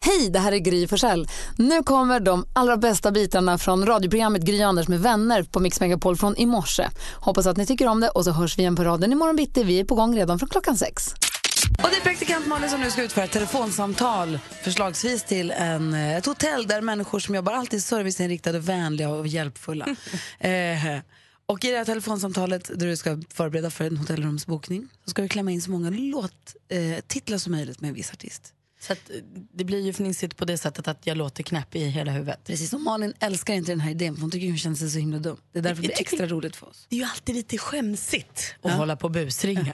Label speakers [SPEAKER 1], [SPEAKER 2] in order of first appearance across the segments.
[SPEAKER 1] Hej, det här är Gry Forssell. Nu kommer de allra bästa bitarna från radioprogrammet Gry Anders med vänner på Mix Megapol från i morse. Hoppas att ni tycker om det och så hörs vi igen på raden imorgon bitti. Vi är på gång redan från klockan sex.
[SPEAKER 2] Och det är praktikant Malin som nu ska utföra ett telefonsamtal, förslagsvis till en, eh, ett hotell där människor som jobbar alltid är serviceinriktade, vänliga och hjälpfulla. eh, och i det här telefonsamtalet där du ska förbereda för en hotellrumsbokning så ska du klämma in så många låttitlar eh, titlar som möjligt med en viss artist.
[SPEAKER 3] Så att, eh, det blir ju fnissigt på det sättet att jag låter knäpp i hela huvudet.
[SPEAKER 2] Precis som Malin älskar inte den här idén för hon tycker hon känner sig så himla dum. Det är därför det blir extra roligt för oss.
[SPEAKER 4] Det är ju alltid lite skämsigt.
[SPEAKER 3] Och hålla på och busringa.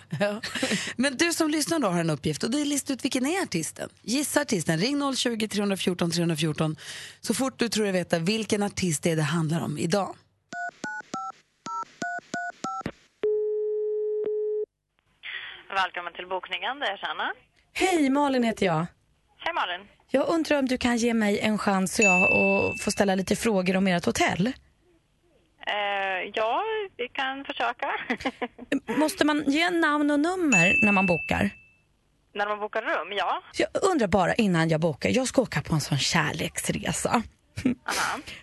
[SPEAKER 2] Men du som lyssnar då har en uppgift och det är lista ut vilken är artisten. Gissa artisten, ring 020-314 314 så fort du tror dig veta vilken artist det är det handlar om idag.
[SPEAKER 5] Välkommen till bokningen, det är Shanna.
[SPEAKER 4] Hej, Malin heter jag.
[SPEAKER 5] Hej Malin.
[SPEAKER 4] Jag undrar om du kan ge mig en chans så jag och får ställa lite frågor om ert hotell?
[SPEAKER 5] Eh, ja, vi kan försöka.
[SPEAKER 4] Måste man ge namn och nummer när man bokar?
[SPEAKER 5] När man bokar rum, ja.
[SPEAKER 4] Jag undrar bara innan jag bokar, jag ska åka på en sån kärleksresa.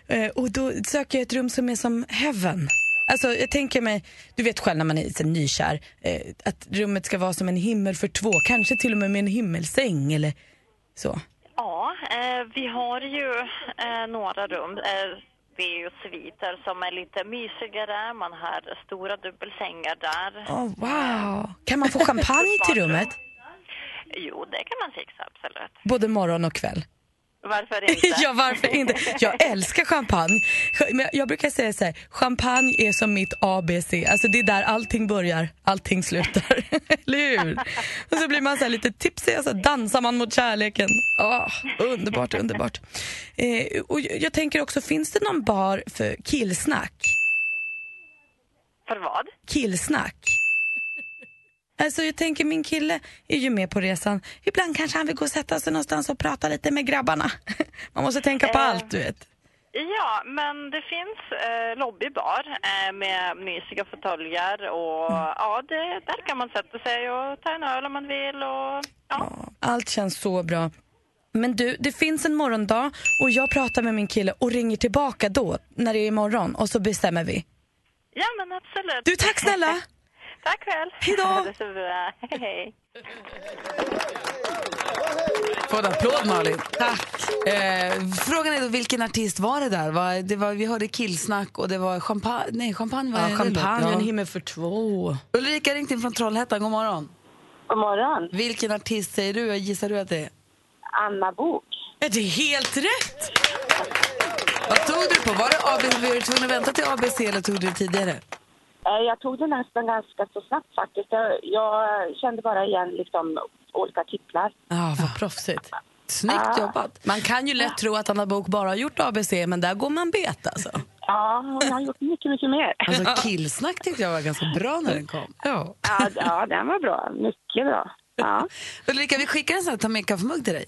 [SPEAKER 4] Eh, och då söker jag ett rum som är som heaven. Alltså jag tänker mig, du vet själv när man är så nykär, eh, att rummet ska vara som en himmel för två, kanske till och med med en himmelsäng eller så.
[SPEAKER 5] Ja, eh, vi har ju eh, några rum. Eh, det är ju sviter som är lite mysigare. Man har stora dubbelsängar där.
[SPEAKER 4] Åh wow! Kan man få champagne till rummet?
[SPEAKER 5] Jo, det kan man fixa, absolut.
[SPEAKER 4] Både morgon och kväll.
[SPEAKER 5] Varför inte?
[SPEAKER 4] ja, varför inte? Jag älskar champagne. Men jag- jag brukar säga så här, champagne är som mitt ABC. Alltså det är där allting börjar, allting slutar. Eller hur? Och så blir man så här lite tipsig och så dansar man mot kärleken. Åh, underbart, underbart. Eh, och jag jag tänker också, finns det någon bar för killsnack?
[SPEAKER 5] För vad?
[SPEAKER 4] killsnack. Alltså jag tänker min kille är ju med på resan. Ibland kanske han vill gå och sätta sig någonstans och prata lite med grabbarna. Man måste tänka på
[SPEAKER 5] Eh.
[SPEAKER 4] allt du vet.
[SPEAKER 5] Ja, men det finns eh, lobbybar eh, med mysiga fåtöljer och
[SPEAKER 4] Mm.
[SPEAKER 5] ja, det, där kan man sätta sig och ta en öl om man vill och ja.
[SPEAKER 4] Allt känns så bra. Men du, det finns en morgondag och jag pratar med min kille och ringer tillbaka då när det är imorgon och så bestämmer vi.
[SPEAKER 5] Ja, men absolut.
[SPEAKER 4] Du, tack snälla!
[SPEAKER 5] Tack väl.
[SPEAKER 4] Hej då.
[SPEAKER 5] Ha det så bra. Hej, hej.
[SPEAKER 2] Få en applåd Malin. Tack. Eh, frågan är då vilken artist var det där? Var, det var, vi hörde killsnack och det var champagne. Nej, champagne var det
[SPEAKER 3] Ja,
[SPEAKER 2] det
[SPEAKER 3] champagne,
[SPEAKER 2] låter.
[SPEAKER 3] en
[SPEAKER 2] Ja.
[SPEAKER 3] himmel för två.
[SPEAKER 2] Ulrika har ringt in från Trollhättan, god morgon.
[SPEAKER 6] God morgon.
[SPEAKER 2] Vilken artist säger du? Gissar du att det är?
[SPEAKER 6] Anna Bok.
[SPEAKER 3] Är det helt rätt?
[SPEAKER 2] Vad tog du på? Var det ABC? Var du tvungen att vänta till ABC eller tog du det tidigare?
[SPEAKER 6] Eh, Jag tog det nästan ganska så snabbt faktiskt. Jag, jag kände bara igen liksom olika titlar.
[SPEAKER 3] Ja, vad proffsigt.
[SPEAKER 2] Ah,
[SPEAKER 3] Ah.
[SPEAKER 2] Snyggt jobbat.
[SPEAKER 3] Man kan ju lätt tro att Anna Bok bara har gjort ABC, men där går man bet alltså.
[SPEAKER 6] Ja, hon har gjort mycket, mycket mer.
[SPEAKER 2] Alltså killsnack tyckte jag var ganska bra när den kom.
[SPEAKER 3] Ja.
[SPEAKER 6] Ja, d- ja den var bra. Mycket bra. Ja,
[SPEAKER 2] Ulrika, vi skickar en sån här ta med kaffemugg till dig.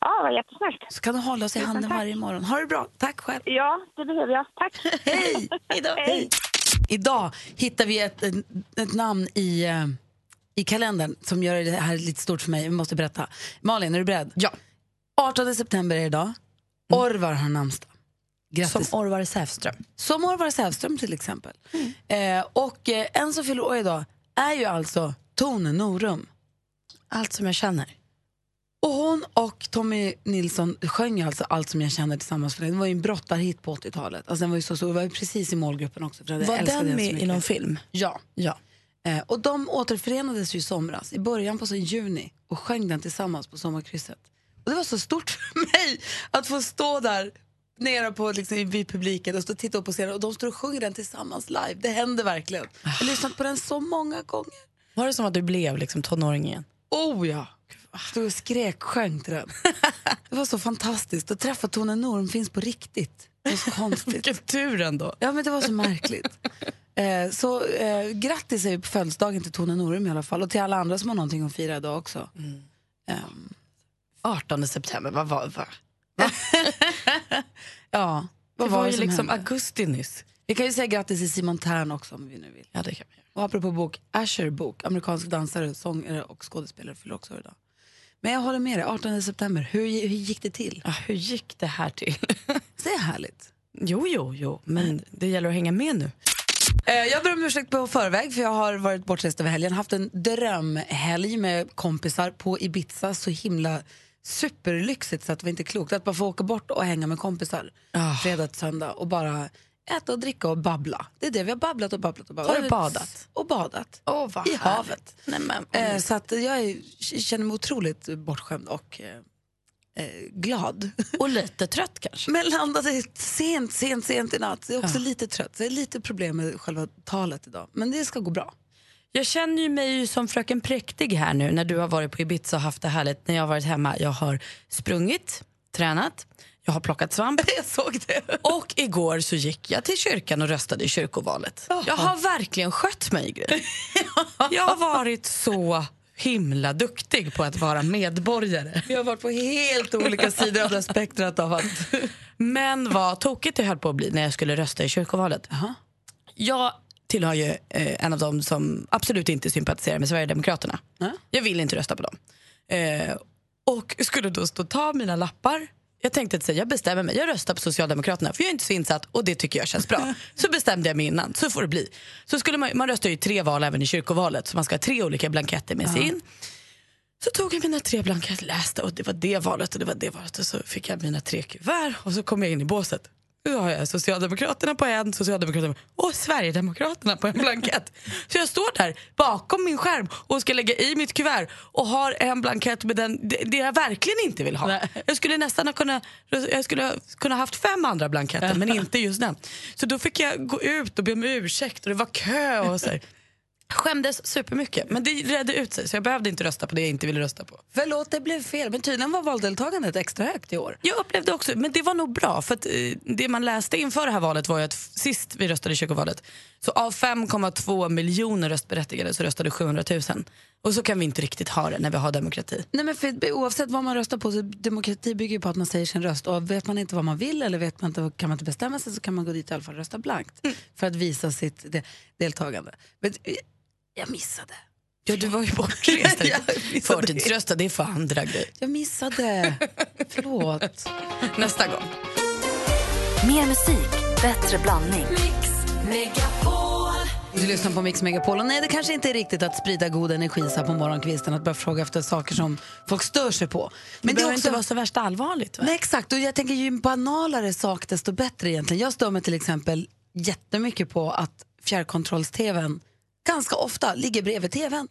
[SPEAKER 6] ja vad jättesnällt.
[SPEAKER 2] Så kan du hålla oss i handen varje morgon. Ha det bra. Tack själv.
[SPEAKER 6] Ja, det behöver jag. Tack.
[SPEAKER 2] Hej! Hej. Idag hittar vi ett, ett, ett namn i, eh, i kalendern som gör det här lite stort för mig. Vi måste berätta. Malin, är du beredd?
[SPEAKER 3] Ja. Mm.
[SPEAKER 2] 18 september är det idag. Orvar har namnsdag. Grattis.
[SPEAKER 3] Som Orvar Säfström.
[SPEAKER 2] Som Orvar Sävström till exempel.
[SPEAKER 3] Mm.
[SPEAKER 2] Eh, och eh, en som fyller år idag är ju alltså Tone Norum.
[SPEAKER 3] Allt som jag känner.
[SPEAKER 2] Och hon och Tommy Nilsson sjöng ju alltså Allt som jag känner tillsammans. För det var ju en brottarhit på 80-talet. Alltså den var ju så stor. Det var ju precis i målgruppen också. För jag
[SPEAKER 3] Var
[SPEAKER 2] älskade
[SPEAKER 3] den
[SPEAKER 2] så
[SPEAKER 3] med i
[SPEAKER 2] mycket.
[SPEAKER 3] någon film?
[SPEAKER 2] Ja.
[SPEAKER 3] Ja.
[SPEAKER 2] Eh, och de återförenades ju i somras, i början på så juni och sjöng den tillsammans på sommarkrysset. Och det var så stort för mig att få stå där nere på, liksom, vid publiken och stå och titta upp på scenen och de står och sjunger den tillsammans live. Det händer verkligen. Jag har lyssnat på den så många gånger.
[SPEAKER 3] Var det som att du blev liksom tonåring igen?
[SPEAKER 2] Oh ja! Stod och skrek, sjöng till den. Det var så fantastiskt. Att träffa Tone Norm finns på riktigt. Det var så konstigt.
[SPEAKER 3] Vilken tur ändå.
[SPEAKER 2] Ja, men det var så märkligt. Eh, så eh, grattis säger vi på födelsedagen till Tone Norum i alla fall och till alla andra som har någonting att fira idag också.
[SPEAKER 3] Mm.
[SPEAKER 2] Ehm,
[SPEAKER 3] 18 september, vad var va?
[SPEAKER 2] ja,
[SPEAKER 3] det?
[SPEAKER 2] vad
[SPEAKER 3] var,
[SPEAKER 2] var det
[SPEAKER 3] ju
[SPEAKER 2] som
[SPEAKER 3] liksom
[SPEAKER 2] hände?
[SPEAKER 3] augusti nyss.
[SPEAKER 2] Vi kan ju säga grattis till Simon Tern också om vi nu vill.
[SPEAKER 3] Ja, det kan vi göra.
[SPEAKER 2] Och apropå bok, Asher Book, amerikansk dansare, sångare och skådespelare fyller också år idag. Men jag håller med dig, 18 september, hur, hur gick det till?
[SPEAKER 4] Ah, hur gick det här till?
[SPEAKER 2] Det är härligt.
[SPEAKER 4] jo, jo, jo, men det gäller att hänga med nu.
[SPEAKER 2] Eh, Jag ber om ursäkt på förväg för jag har varit bortrest över helgen. Haft en drömhelg med kompisar på Ibiza. Så himla superlyxigt så att det var inte klokt. Att bara få åka bort och hänga med kompisar
[SPEAKER 4] Ah.
[SPEAKER 2] fredag till söndag och bara äta och dricka och babbla. Det är det vi har babblat och babblat och babblat.
[SPEAKER 4] Har du badat?
[SPEAKER 2] Och badat.
[SPEAKER 4] Åh, vad
[SPEAKER 2] I havet.
[SPEAKER 4] Nej, men,
[SPEAKER 2] Eh, Så att jag är, känner mig otroligt bortskämd och eh, eh, glad.
[SPEAKER 4] och lite trött kanske.
[SPEAKER 2] Men landade sent, sent, sent i natt. Jag är också lite trött. Så jag har lite problem med själva talet idag. Men det ska gå bra.
[SPEAKER 4] Jag känner ju mig ju som fröken präktig här nu när du har varit på Ibiza och haft det härligt. När jag har varit hemma, jag har sprungit, tränat, jag har plockat svamp.
[SPEAKER 2] Jag såg det.
[SPEAKER 4] Och igår så gick jag till kyrkan och röstade i kyrkovalet. Jag har verkligen skött mig, Gry. Jag har varit så himla duktig på att vara medborgare.
[SPEAKER 2] Vi har varit på helt olika sidor av det här spektrat av att...
[SPEAKER 4] Men vad tokigt det höll på att bli när jag skulle rösta i kyrkovalet. Jag tillhör ju eh, en av dem som absolut inte sympatiserar med Sverigedemokraterna. Jag vill inte rösta på dem. Eh, och skulle då stå och ta mina lappar. Jag tänkte att säga, jag bestämmer mig, jag röstar på Socialdemokraterna för jag är inte så insatt och det tycker jag känns bra. Så bestämde jag mig innan, så får det bli. Så skulle man, man röstar ju i tre val även i kyrkovalet så man ska ha tre olika blanketter med sig in. Så tog jag mina tre blanketter, läste och det var det valet och det var det valet och så fick jag mina tre kuvert och så kom jag in i båset. Nu har jag Socialdemokraterna på en, Socialdemokraterna och Sverigedemokraterna på en blankett. Så jag står där bakom min skärm och ska lägga i mitt kuvert och har en blankett med den, det, det jag verkligen inte vill ha. Jag skulle nästan ha kunnat, jag skulle ha kunnat haft fem andra blanketter men inte just den. Så då fick jag gå ut och be om ursäkt och det var kö och så här. Skämdes supermycket, men det redde ut sig så jag behövde inte rösta på det jag inte ville rösta på.
[SPEAKER 2] Förlåt, det blev fel. Men tydligen var valdeltagandet extra högt i år.
[SPEAKER 4] Jag upplevde också, men det var nog bra för att eh, det man läste inför det här valet var ju att f- sist vi röstade i kyrkovalet så av 5,2 miljoner röstberättigade så röstade 700 000. Och så kan vi inte riktigt ha det när vi har demokrati.
[SPEAKER 2] Nej, men för, oavsett vad man röstar på, så demokrati bygger ju på att man säger sin röst. Och vet man inte vad man vill eller vet man inte, kan man inte bestämma sig så kan man gå dit och i alla fall rösta blankt
[SPEAKER 4] Mm.
[SPEAKER 2] för att visa sitt de, deltagande. Men eh, jag missade.
[SPEAKER 4] Ja, du var ju bortrest.
[SPEAKER 2] Ja, jag missade det.
[SPEAKER 4] Förtidsrösta, det är för andra grejer.
[SPEAKER 2] Jag missade. Förlåt.
[SPEAKER 4] Nästa gång.
[SPEAKER 1] Mer musik, bättre blandning.
[SPEAKER 2] Du lyssnar på Mix Megapol. Och nej, det kanske inte är riktigt att sprida god energi så här på morgonkvisten, att börja fråga efter saker som folk stör sig på. Men det, är
[SPEAKER 4] behöver
[SPEAKER 2] också...
[SPEAKER 4] inte vara så värst allvarligt. Va?
[SPEAKER 2] Nej, exakt. Och jag tänker ju banalare sak desto bättre egentligen. Jag stör mig till exempel jättemycket på att fjärrkontrolls-tvn ganska ofta ligger bredvid tvn.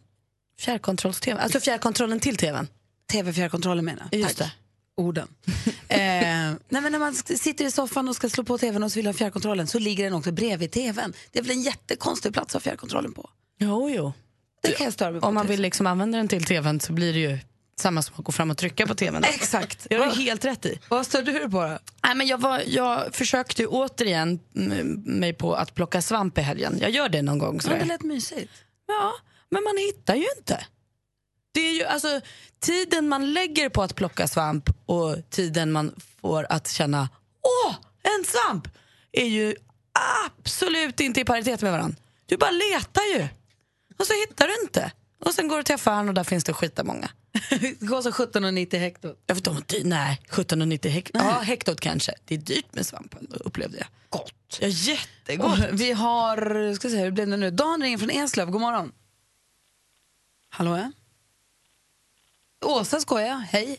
[SPEAKER 4] Fjärrkontrolls-tv, alltså fjärrkontrollen till tvn.
[SPEAKER 2] Tv-fjärrkontrollen menar jag.
[SPEAKER 4] Just
[SPEAKER 2] Tack. Orden. eh, nej, men när man sk- sitter i soffan och ska slå på tvn och så vill ha fjärrkontrollen så ligger den också bredvid tvn. Det är väl en jättekonstig plats att ha fjärrkontrollen på.
[SPEAKER 4] Jo, jo.
[SPEAKER 2] Det kan jag störa mig på.
[SPEAKER 4] Om man
[SPEAKER 2] till
[SPEAKER 4] vill liksom använda den till tvn så blir det ju samma som att gå fram och trycka på tvn.
[SPEAKER 2] Exakt.
[SPEAKER 4] Det har du helt rätt i.
[SPEAKER 2] Vad stör du dig på då?
[SPEAKER 4] Nej, men jag, var, jag försökte ju återigen mm, mig på att plocka svamp i helgen. Jag gör det någon gång.
[SPEAKER 2] Men det
[SPEAKER 4] Sådär.
[SPEAKER 2] lät mysigt.
[SPEAKER 4] Ja, men man hittar ju inte. Det är ju, alltså, tiden man lägger på att plocka svamp och tiden man får att känna åh, en svamp är ju absolut inte i paritet med varandra. Du bara letar ju och så hittar du inte. Och sen går du till affären och där finns det skitamånga.
[SPEAKER 2] Det kostar 17,90 hektot.
[SPEAKER 4] Jag vet inte, nej, 17,90 hektot. Ja, hektot kanske. Det är dyrt med svamp ändå, upplevde jag. Gott. Ja, jättegott.
[SPEAKER 2] Vi har, ska se hur blev det nu? Dan ringer från Eslöv, god morgon. Hallå ja? Åsa skojar, hej.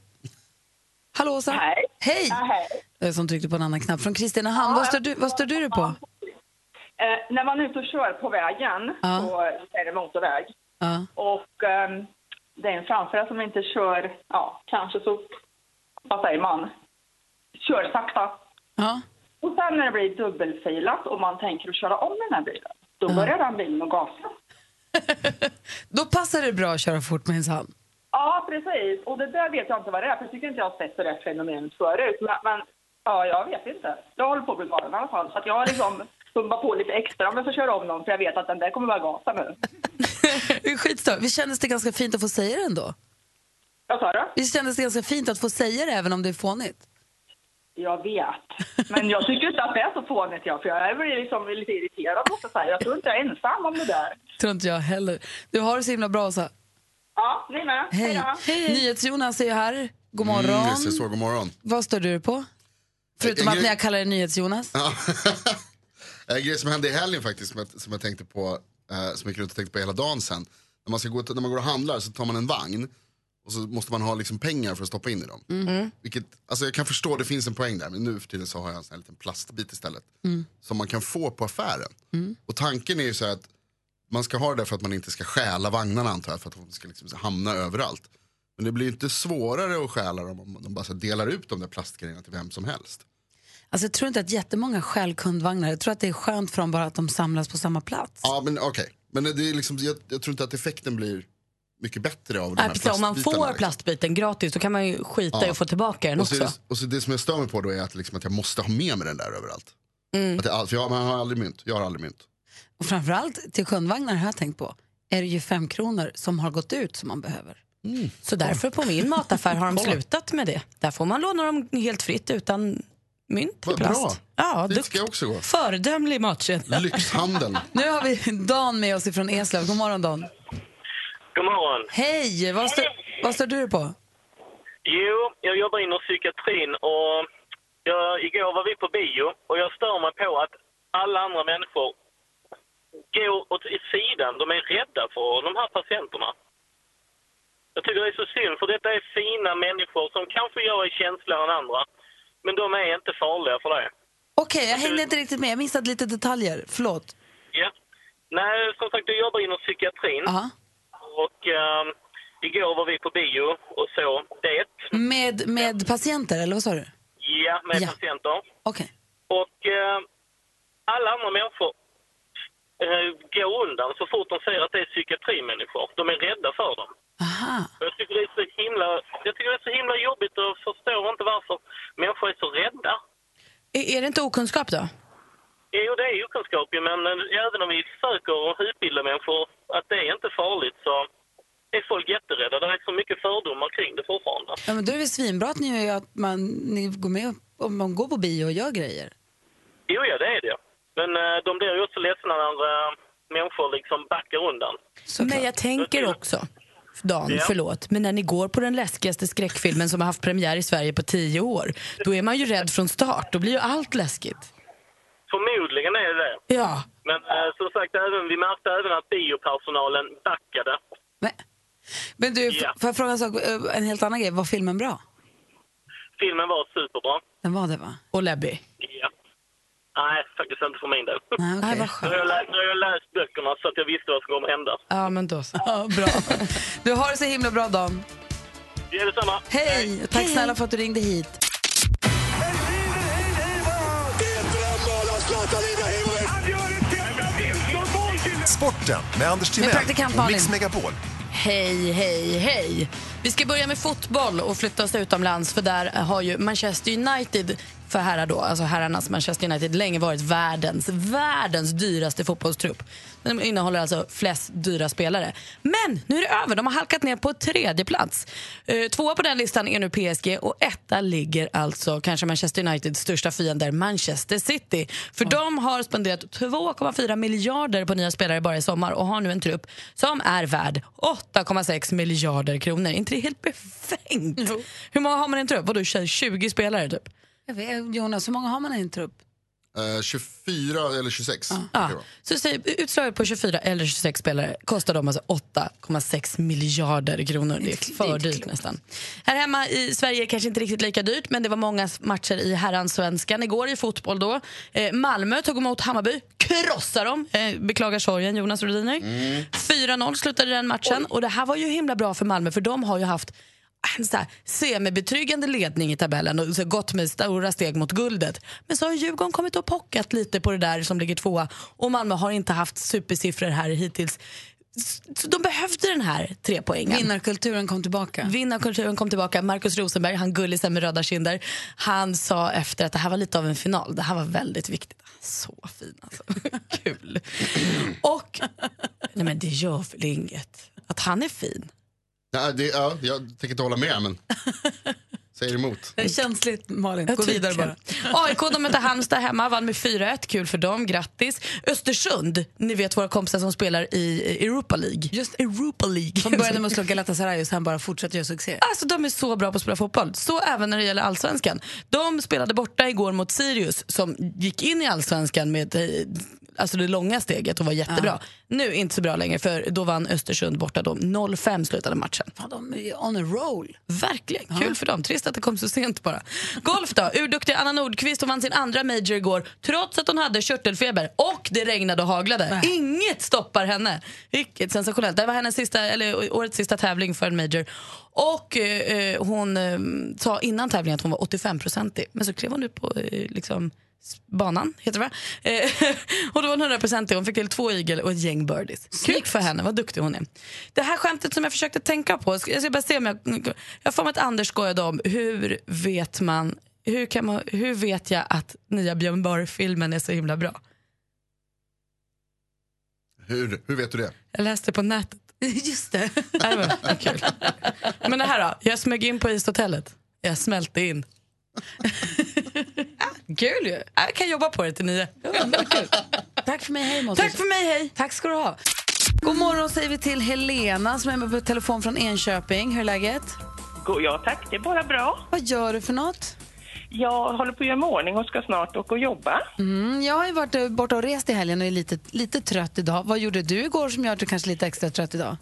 [SPEAKER 2] Hallå Åsa.
[SPEAKER 6] Hej.
[SPEAKER 2] Hej.
[SPEAKER 6] Ja, hej.
[SPEAKER 2] Jag Som tryckte på en annan knapp. Från Kristinehamn, vad, stör du, vad stör du dig på?
[SPEAKER 6] Eh, när man är ute och kör på vägen,
[SPEAKER 2] Ja.
[SPEAKER 6] på är det motorväg,
[SPEAKER 2] Ja.
[SPEAKER 6] och ehm, det är en framför som inte kör, ja, kanske så, vad säger man, kör sakta.
[SPEAKER 2] Ja.
[SPEAKER 6] Och sen när det blir dubbelfilat och man tänker att köra om den här bilen, då börjar den bilen att gasa.
[SPEAKER 2] Då passar det bra att köra fort minsann.
[SPEAKER 6] Ja, precis. Och det där vet jag inte vad det är, för jag tycker inte jag har sett det där fenomenet förut. Men, men ja, jag vet inte. Jag håller på att bli galen i alla fall. Så att jag har liksom pumpat på lite extra om jag ska köra om någon, för jag vet att den där kommer bara gasa nu.
[SPEAKER 2] Det är skitstör. Vi kändes det ganska fint att få säga det ändå?
[SPEAKER 6] Jag sa det?
[SPEAKER 2] Vi kändes det ganska fint att få säga det även om det är fånigt?
[SPEAKER 6] Jag vet. Men jag tycker inte att det är så fånigt, jag, för jag blir liksom lite irriterad, måste jag säga. Jag tror inte jag är ensam om det där.
[SPEAKER 2] Tror inte jag heller. Du har det så himla bra Åsa.
[SPEAKER 6] Ja, ni med.
[SPEAKER 2] Hej.
[SPEAKER 6] då.
[SPEAKER 2] NyhetsJonas är ju här. God morgon.
[SPEAKER 7] Mm, just det, så, god morgon.
[SPEAKER 2] Vad står du på? Förutom
[SPEAKER 7] En
[SPEAKER 2] att
[SPEAKER 7] grej-
[SPEAKER 2] när jag kallar dig NyhetsJonas.
[SPEAKER 7] Ja. en grej som hände i helgen faktiskt som jag, som jag tänkte på, eh, som jag gick runt och tänkte på hela dagen sen. När man, ska gå, till- när man går och handlar så tar man en vagn och så måste man ha liksom pengar för att stoppa in i dem. Vilket, alltså jag kan förstå, det finns en poäng där, men nu för tiden så har jag en sån här liten plastbit istället. Som man kan få på affären. Och tanken är ju så här att man ska ha det där för att man inte ska stjäla vagnarna antar jag, för att de ska liksom hamna överallt. Men det blir ju inte svårare att stjäla dem om de bara så här delar ut de där plastgrejerna till vem som helst.
[SPEAKER 2] Alltså, jag tror inte att jättemånga stjäl kundvagnar. Jag tror att det är skönt för dem bara att de samlas på samma plats.
[SPEAKER 7] Ja, men okej. Men det är liksom, jag, jag tror inte att effekten blir mycket bättre av de
[SPEAKER 4] Nej,
[SPEAKER 7] här
[SPEAKER 4] precis, om man
[SPEAKER 7] plastbitarna,
[SPEAKER 4] får
[SPEAKER 7] liksom.
[SPEAKER 4] plastbiten gratis så kan man ju skita i
[SPEAKER 7] Ja.
[SPEAKER 4] att få tillbaka den
[SPEAKER 7] och så,
[SPEAKER 4] också.
[SPEAKER 7] och så det som jag stör mig på då är att, liksom, att jag måste ha med mig den där överallt.
[SPEAKER 4] Mm.
[SPEAKER 7] Att jag, all- för jag, man har aldrig mynt. Jag har aldrig mynt.
[SPEAKER 2] Och framförallt till kundvagnar har jag tänkt på, är det ju fem kronor som har gått ut som man behöver.
[SPEAKER 4] Så därför på min mataffär har de slutat med det. Där får man låna dem helt fritt utan mynt eller
[SPEAKER 7] Vad
[SPEAKER 4] plast.
[SPEAKER 7] bra.
[SPEAKER 4] Ja,
[SPEAKER 7] Dit ska
[SPEAKER 4] dukt.
[SPEAKER 7] jag också gå.
[SPEAKER 4] Föredömlig matkedja.
[SPEAKER 7] Lyxhandeln.
[SPEAKER 2] Nu har vi Dan med oss ifrån Eslöv. God morgon Dan.
[SPEAKER 8] God morgon.
[SPEAKER 2] Hej! Vad, stö- vad står du på?
[SPEAKER 8] Jo, jag jobbar inom psykiatrin och jag, igår var vi på bio och jag stör mig på att alla andra människor går åt i sidan. De är rädda för de här patienterna. Jag tycker det är så synd, för detta är fina människor som kanske jag är känsligare än andra. Men de är inte farliga för det.
[SPEAKER 2] Okej, jag hängde inte riktigt med. Jag missade lite detaljer. Förlåt.
[SPEAKER 8] Ja. Nej, som sagt, jag jobbar inom psykiatrin
[SPEAKER 2] Aha.
[SPEAKER 8] och ehm, igår var vi på bio och så det.
[SPEAKER 2] Med, med patienter, eller vad sa du?
[SPEAKER 8] Ja, med
[SPEAKER 2] Ja.
[SPEAKER 8] patienter.
[SPEAKER 2] Okej.
[SPEAKER 8] Och eh, alla andra människor eh, går undan så fort de ser att det är psykiatrimänniskor. De är rädda för dem.
[SPEAKER 2] Aha.
[SPEAKER 8] Och Jag tycker, det är så himla, jag tycker det är så himla jobbigt och förstår inte varför människor är så rädda.
[SPEAKER 4] Är, är det inte okunskap då?
[SPEAKER 8] Jo, det är ju kunskap ju, men eh, även om vi försöker att utbilda människor att det är inte farligt så är folk jätterädda. Det är så mycket fördomar kring det fortfarande.
[SPEAKER 2] Ja, men då är det väl svinbra att ni, gör att man, ni går med upp- om man går på bio och gör grejer.
[SPEAKER 8] Jo, ja, det är det. Men eh, de blir ju också ledsna när eh, människor liksom backar undan.
[SPEAKER 4] Men jag tänker också, Dan,
[SPEAKER 8] Ja.
[SPEAKER 4] förlåt, men när ni går på den läskigaste skräckfilmen som har haft premiär i Sverige på tio år, då är man ju rädd från start. Då blir ju allt läskigt.
[SPEAKER 8] Förmodligen är det det.
[SPEAKER 4] Ja.
[SPEAKER 8] Men eh, som sagt, även, vi märkte även att biopersonalen backade.
[SPEAKER 2] Men, men du, f-
[SPEAKER 8] Ja.
[SPEAKER 2] får jag fråga en, sak, eh, en helt annan grej? Var filmen bra?
[SPEAKER 8] Filmen var superbra.
[SPEAKER 2] Den var det, va?
[SPEAKER 4] Och Lebby.
[SPEAKER 8] Ja. Nej, faktiskt inte för min del.
[SPEAKER 2] Nej, okej.
[SPEAKER 4] Nej, vad
[SPEAKER 8] Nu
[SPEAKER 4] skönt.
[SPEAKER 8] har jag läst, nu har jag läst böckerna så att jag visste vad som kommer hända.
[SPEAKER 4] Ja, men då så.
[SPEAKER 2] Ja, bra. Du har det så himla bra, Dan.
[SPEAKER 8] Det är detsamma.
[SPEAKER 2] Hej! Och Tack snälla för att du ringde hit.
[SPEAKER 9] Sporten med Anders
[SPEAKER 2] praktikant
[SPEAKER 9] Timell och Mix
[SPEAKER 2] Malin.
[SPEAKER 9] Megapol.
[SPEAKER 4] Hej, hej, hej. Vi ska börja med fotboll och flytta oss utomlands för där har ju Manchester United för herrar då, alltså herrarnas Manchester United länge varit världens, världens dyraste fotbollstrupp. Den innehåller alltså flest dyra spelare. Men nu är det över, de har halkat ner på tredje plats. Eh, Tvåa på den listan är nu PSG och etta ligger alltså kanske Manchester Uniteds största fiender Manchester City. För de har spenderat 2,4 miljarder på nya spelare bara i sommar och har nu en trupp som är värd 8,6 miljarder kronor. inte det helt befängt? Hur många har man i en trupp? Vadå, tjej, 20 spelare typ?
[SPEAKER 2] Jag vet, Jonas, hur många har man i en trupp?
[SPEAKER 7] Eh, 24 eller 26.
[SPEAKER 4] Ja.
[SPEAKER 7] Det var.
[SPEAKER 4] Så säg, utslaget på 24 eller 26 spelare kostar de alltså 8,6 miljarder kronor. Det är för dyrt nästan. Här hemma i Sverige är det kanske inte riktigt lika dyrt men det var många matcher i herransvenskan igår i fotboll då. Eh, Malmö tog emot Hammarby, krossar dem. Eh, beklagar sorgen Jonas Rhodiner. 4-0 slutade den matchen och det här var ju himla bra för Malmö för de har ju haft en så här semibetryggande ledning i tabellen och så gått med stora steg mot guldet. Men så har Djurgården kommit och pockat lite på det där som ligger tvåa och Malmö har inte haft supersiffror här hittills. S- Så de behövde den här trepoängen.
[SPEAKER 2] Vinnarkulturen kom tillbaka.
[SPEAKER 4] Vinnarkulturen kom tillbaka. Markus Rosenberg, han gullisen med röda kinder, han sa efter att det här var lite av en final. Det här var väldigt viktigt. Så fin alltså. Kul. Och, nej men det gör väl inget att han är fin.
[SPEAKER 7] Nej, det, ja, jag tänker inte hålla med men Säger emot.
[SPEAKER 2] Det är känsligt, Malin. Gå
[SPEAKER 4] Typ
[SPEAKER 2] vidare bara.
[SPEAKER 4] AIK de mötte Halmstad hemma, vann med 4-1. Kul för dem, grattis. Östersund, ni vet våra kompisar som spelar i Europa League. Just Europa League.
[SPEAKER 2] Som började med att slå Galatasaray och sen bara fortsätter göra succé.
[SPEAKER 4] Alltså de är så bra på att spela fotboll. Så även när det gäller allsvenskan. De spelade borta igår mot Sirius som gick in i allsvenskan med eh, alltså det långa steget och var jättebra. Nu inte så bra längre för då vann Östersund borta. De 0-5 slutade matchen.
[SPEAKER 2] Ja, de är on a roll.
[SPEAKER 4] Verkligen, kul för dem. Trist att det kom så sent bara. Golf då, urduktiga Anna Nordqvist hon vann sin andra major igår trots att hon hade körtelfeber och det regnade och haglade. Inget stoppar henne. Vilket sensationellt. Det var hennes sista, eller årets sista tävling för en major. Och eh, eh, hon eh, sa innan tävlingen att hon var 85-procentig men så klev hon ut på eh, liksom s- banan, heter det va? Eh, och då var hon 100% hon fick till två igel och ett gäng birdies. Kul för henne, vad duktig hon är. Det här skämtet som jag försökte tänka på, ska- jag ska bara se om jag... Jag får mig att Anders skojade om hur vet man, hur, kan man, hur vet jag att nya Björn Borg-filmen är så himla bra?
[SPEAKER 7] Hur, hur vet du det?
[SPEAKER 4] Jag läste på nätet.
[SPEAKER 2] Just det.
[SPEAKER 4] Nej, men, vad kul. men det här då, jag smög in på ishotellet. Jag smälte in. Kul ju! Jag kan jobba på det till nio.
[SPEAKER 2] Tack för mig, hej Måns.
[SPEAKER 4] Tack för mig, hej!
[SPEAKER 2] Tack ska du ha. God morgon säger vi till Helena som är med på telefon från Enköping. Hur är läget?
[SPEAKER 5] Go- Ja tack, det är bara bra.
[SPEAKER 2] Vad gör du för något?
[SPEAKER 5] Jag håller på att göra mig i ordning och ska snart åka och jobba.
[SPEAKER 2] Mm, jag har ju varit eh, borta och rest i helgen och är lite, lite trött idag. Vad gjorde du igår som gör att du kanske är lite extra trött idag?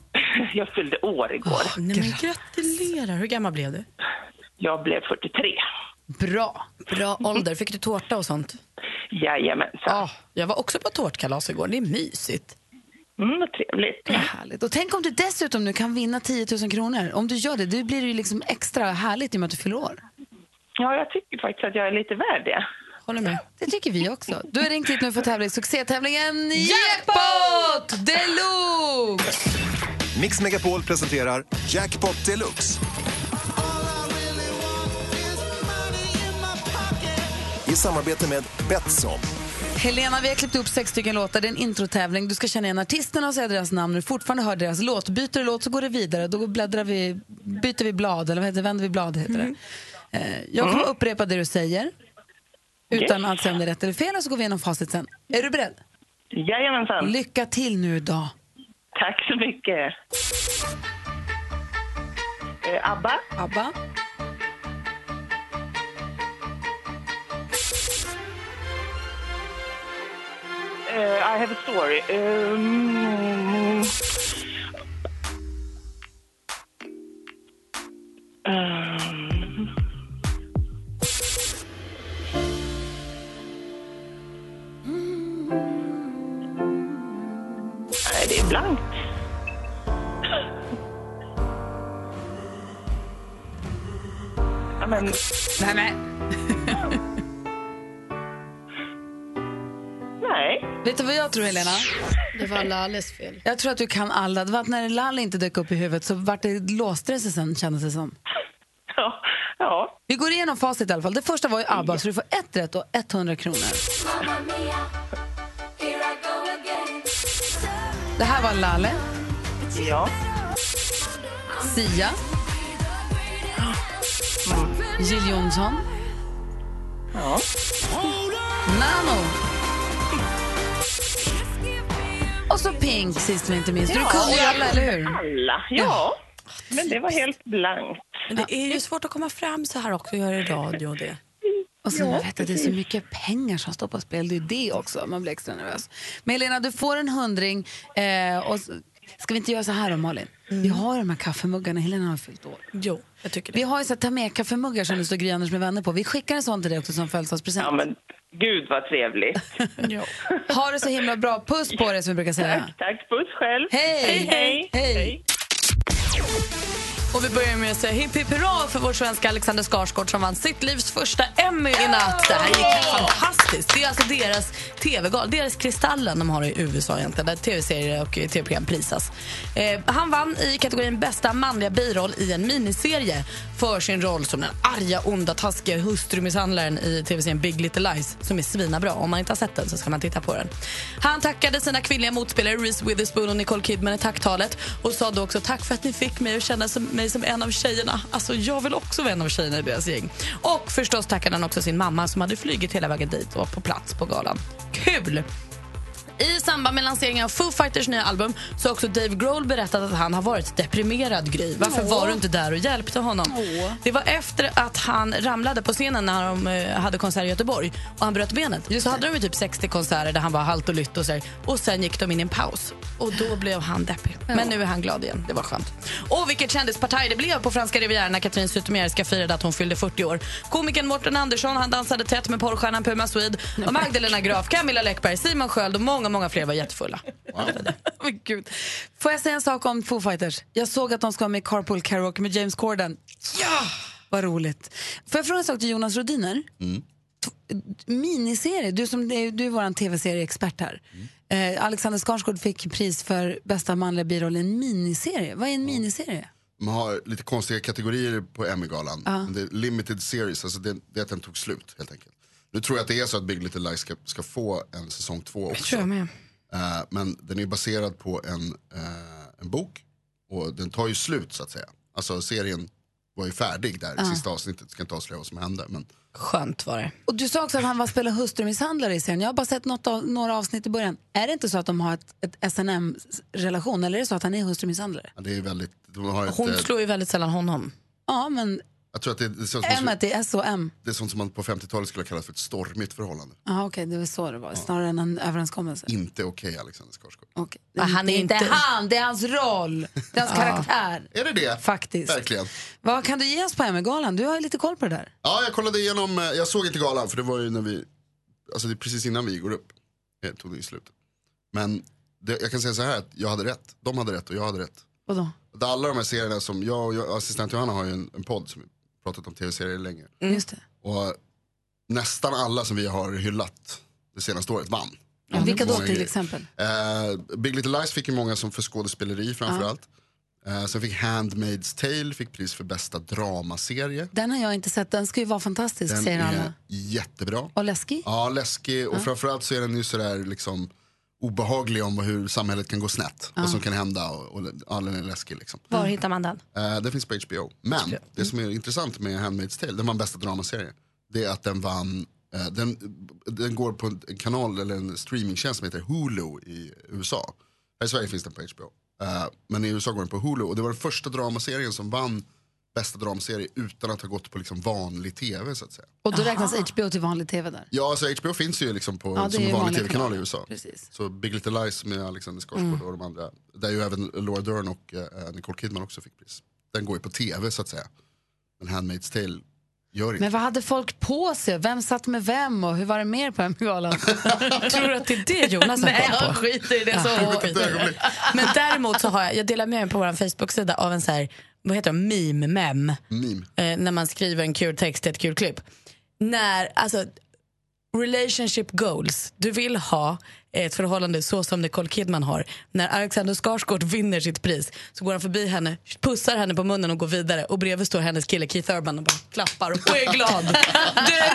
[SPEAKER 5] Jag fyllde år igår.
[SPEAKER 4] Nej, men gratulerar, hur gammal blev du?
[SPEAKER 5] Jag blev 43.
[SPEAKER 2] Bra.
[SPEAKER 4] Bra ålder, fick du tårta och sånt?
[SPEAKER 5] Jajamensan.
[SPEAKER 4] Ja, jag var också på tårtkalas igår, det är mysigt.
[SPEAKER 5] Mm, vad trevligt.
[SPEAKER 2] Härligt. Och tänk om du dessutom nu kan vinna 10 000 kronor. Om du gör det, då blir det ju liksom extra härligt i och med att du fyller år.
[SPEAKER 5] Ja, jag tycker faktiskt att jag är lite värd det.
[SPEAKER 4] Håller med.
[SPEAKER 2] Det tycker vi också. Du har ringt hit nu för att tävla i succétävlingen Jackpot Deluxe!
[SPEAKER 9] Mix Megapol presenterar Jackpot Deluxe. I samarbete med Betsson.
[SPEAKER 2] Helena, vi har klippt upp sex stycken låtar. Det är en introtävling. Du ska känna igen artisterna och säga deras namn. När du fortfarande hör deras låt, byter du låt så går det vidare. Då bläddrar vi, byter vi blad, eller vad heter det? vänder vi blad heter det. Eh, Jag kommer upprepa det du säger. Utan att säga om det är rätt eller fel och så går vi igenom facit sen. Är du beredd?
[SPEAKER 5] Jajamensan.
[SPEAKER 2] Lycka till nu idag.
[SPEAKER 5] Tack så mycket. Eh, Abba,
[SPEAKER 2] ABBA.
[SPEAKER 5] eh, I have a story. Um, um, Nej, det är blankt. Ja, men...
[SPEAKER 2] Nej, men.
[SPEAKER 5] Nej.
[SPEAKER 2] Vet du vad jag tror, Helena?
[SPEAKER 4] Det var alla alldeles fel.
[SPEAKER 2] Jag tror att du kan alla. Det var att när Lalle inte dök upp i huvudet så vart det låste det sig sen, kändes det som.
[SPEAKER 5] Ja. ja.
[SPEAKER 2] Vi går igenom facit i alla fall. Det första var ju ABBA, så du får ett rätt och 100 kronor. Det här var Lalle,
[SPEAKER 5] Ja.
[SPEAKER 2] Sia, Jill Johnson,
[SPEAKER 5] Ja.
[SPEAKER 2] Nano. Och så Pink, sist men inte minst. Du kunde ju alla, eller hur?
[SPEAKER 5] Alla. Ja. Men det var helt blankt.
[SPEAKER 4] Men det är ju svårt att komma fram så här också, göra i radio och det.
[SPEAKER 2] Och sen man vet att det är så mycket pengar som står på spel. Det är ju det också. Man blir extra nervös. Men Helena, du får en hundring. Eh, och s- ska vi inte göra så här då, Malin? Vi har de här kaffemuggarna. Helena har fyllt år.
[SPEAKER 4] Jo, jag tycker det.
[SPEAKER 2] Vi har ju så här, ta med kaffemuggar som det står Gry Anders med vänner på. Vi skickar en sån till dig också som födelsedagspresent.
[SPEAKER 5] Ja, men gud vad trevligt.
[SPEAKER 2] Ha det så himla bra. Puss på dig som vi brukar säga.
[SPEAKER 5] Tack, tack. Puss själv.
[SPEAKER 2] Hej.
[SPEAKER 5] hej.
[SPEAKER 2] Hej.
[SPEAKER 4] Och vi börjar med att säga hipp hipp hurra för vår svenska Alexander Skarsgård som vann sitt livs första Emmy i natt. Det här gick fantastiskt. Det är alltså deras tv-gal, deras Kristallen de har i USA egentligen, där tv-serier och eh, tv-program prisas. Eh, han vann i kategorin bästa manliga biroll i en miniserie för sin roll som den arga, onda, taskiga hustrumisshandlaren i tv-serien Big Little Lies som är svinabra. Om man inte har sett den så ska man titta på den. Han tackade sina kvinnliga motspelare Reese Witherspoon och Nicole Kidman i tacktalet och sa då också tack för att ni fick mig att känna som mig mig som en av tjejerna. Alltså, jag vill också vara en av tjejerna i deras gäng. Och förstås tackade han också sin mamma som hade flugit hela vägen dit och var på plats på galan. Kul! I samband med lanseringen av Foo Fighters nya album så har också Dave Grohl berättat att han har varit deprimerad, Gry. Varför
[SPEAKER 1] Åh.
[SPEAKER 4] var du inte där och hjälpte honom?
[SPEAKER 1] Åh.
[SPEAKER 4] Det var efter att han ramlade på scenen när de eh, hade konsert i Göteborg och han bröt benet. så hade de ju typ 60 konserter där han var halt och lytt och så här. Och sen gick de in i en paus och då blev han deppig. Men nu är han glad igen. Det var skönt. Och vilket kändispartaj det blev på franska rivieran när Katrin Zytomierska firade att hon fyllde 40 år. Komikern Morten Andersson han dansade tätt med porrstjärnan Puma Swede och Magdalena Graf, Camilla Läckberg, Simon Sköld och många, många fler var jättefulla.
[SPEAKER 2] Men gud. Får jag säga en sak om Foo Fighters? Jag såg att de ska vara med i Carpool Karaoke med James Corden. Ja! Vad roligt. Får jag fråga en sak till Jonas Rodiner? Miniserie, du, som, du är vår tv-serieexpert här. Eh, Alexander Skarsgård fick pris för bästa manliga biroll i en miniserie. Vad är en miniserie?
[SPEAKER 7] Man har lite konstiga kategorier på Emmy-galan.
[SPEAKER 2] Ja.
[SPEAKER 7] Men Det är limited series, alltså det, det är att den tog slut helt enkelt. Nu tror jag att det är så att Big Little Lies ska, ska få en säsong två också. Eh, men den är baserad på en, eh, en bok och den tar ju slut så att säga. Alltså serien var ju färdig där i sista avsnittet, ska inte avslöja vad som hände. Men
[SPEAKER 4] Skönt var det.
[SPEAKER 2] Och du sa också att han var spelar hustrumisshandlare i serien. Jag har bara sett något av, några avsnitt i början. Är det inte så att de har ett, ett SNM-relation eller är det så att han är hustrumisshandlare?
[SPEAKER 7] ja, det är väldigt, de har ett,
[SPEAKER 4] Hon
[SPEAKER 7] eh,
[SPEAKER 4] slår ju väldigt sällan honom.
[SPEAKER 2] Ja, men
[SPEAKER 7] jag tror att det, det, är sånt
[SPEAKER 2] M
[SPEAKER 7] som,
[SPEAKER 2] det är SOM.
[SPEAKER 7] det är sånt som man på 50-talet skulle ha kallat för ett stormigt förhållande.
[SPEAKER 2] Ja, okej, det var så det var. Snarare än en överenskommelse.
[SPEAKER 7] Inte okej Alexander Skarsgård.
[SPEAKER 2] Okej.
[SPEAKER 4] Ja, han
[SPEAKER 2] det
[SPEAKER 4] är
[SPEAKER 2] är inte
[SPEAKER 4] inte-
[SPEAKER 2] han, det är hans roll. Det är hans karaktär.
[SPEAKER 7] Är det det?
[SPEAKER 2] Faktiskt.
[SPEAKER 7] Verkligen.
[SPEAKER 2] Vad kan du ge oss på Emmy-galan? Du har ju lite koll på det där.
[SPEAKER 7] Ja, jag kollade igenom, eh, jag såg inte galan för det var ju när vi, alltså det är precis innan vi går upp. Jag tog det i slut. Men det, jag kan säga så här att jag hade rätt. De hade rätt och jag hade rätt.
[SPEAKER 2] Vadå?
[SPEAKER 7] Att Alla de här serierna som, jag och jag, assistent Johanna har ju en, en podd som vi pratat om tv-serier länge.
[SPEAKER 2] Just det.
[SPEAKER 7] Och nästan alla som vi har hyllat det senaste året vann. Mm.
[SPEAKER 2] Ja, vilka då
[SPEAKER 7] Många
[SPEAKER 2] till
[SPEAKER 7] grejer.
[SPEAKER 2] exempel?
[SPEAKER 7] Eh, Big Little Lies fick ju många som för skådespeleri framförallt. Eh, sen fick Handmaid's Tale fick pris för bästa dramaserie.
[SPEAKER 2] Den har jag inte sett. Den ska ju vara fantastisk,
[SPEAKER 7] Den
[SPEAKER 2] säger
[SPEAKER 7] är
[SPEAKER 2] alla.
[SPEAKER 7] jättebra.
[SPEAKER 2] Och läskig?
[SPEAKER 7] Ja, läskig och framförallt så är den ju sådär liksom obehaglig om hur samhället kan gå snett, vad som kan hända och, och ja, den är läskig liksom.
[SPEAKER 4] Var hittar man den?
[SPEAKER 7] Eh, den finns på HBO. Men det som är intressant med Handmaid's Tale, den vann bästa dramaserie, det är att den vann, eh, den, den går på en kanal eller en streamingtjänst som heter Hulu i USA. Här i Sverige finns den på HBO. Eh, men i USA går den på Hulu och det var den första dramaserien som vann bästa dramaserie utan att ha gått på liksom vanlig tv så att säga.
[SPEAKER 2] Och då räknas HBO till vanlig tv där?
[SPEAKER 7] Ja, alltså HBO finns ju liksom på,
[SPEAKER 2] Ja, det
[SPEAKER 7] som
[SPEAKER 2] är ju
[SPEAKER 7] en vanlig
[SPEAKER 2] vanliga
[SPEAKER 7] tv-kanal i
[SPEAKER 2] kanaler.
[SPEAKER 7] USA.
[SPEAKER 2] Precis. Mm.
[SPEAKER 7] Så Big Little Lies med Alexander Skarsgård och de andra, där ju även Laura Dern och eh, Nicole Kidman också fick pris. Den går ju på tv så att säga. Men Handmaid's Tale gör inte
[SPEAKER 2] Men vad hade folk på sig? Vem satt med vem och hur var det mer på Emmy-galan?
[SPEAKER 4] Tror du att det är det Jonas har
[SPEAKER 2] Nej,
[SPEAKER 4] koll på?
[SPEAKER 2] jag skiter i det. Så.
[SPEAKER 7] Ett ögonblick.
[SPEAKER 4] Men däremot så har jag, jag delar med mig på vår Facebook-sida av en så här, vad heter det, meme-mem.
[SPEAKER 7] Meme.
[SPEAKER 4] Eh, när man skriver en kul text till ett kul klipp. När, alltså, relationship goals. Du vill ha ett förhållande så som Nicole Kidman har. När Alexander Skarsgård vinner sitt pris så går han förbi henne, pussar henne på munnen och går vidare. Och bredvid står hennes kille Keith Urban och bara klappar och är glad.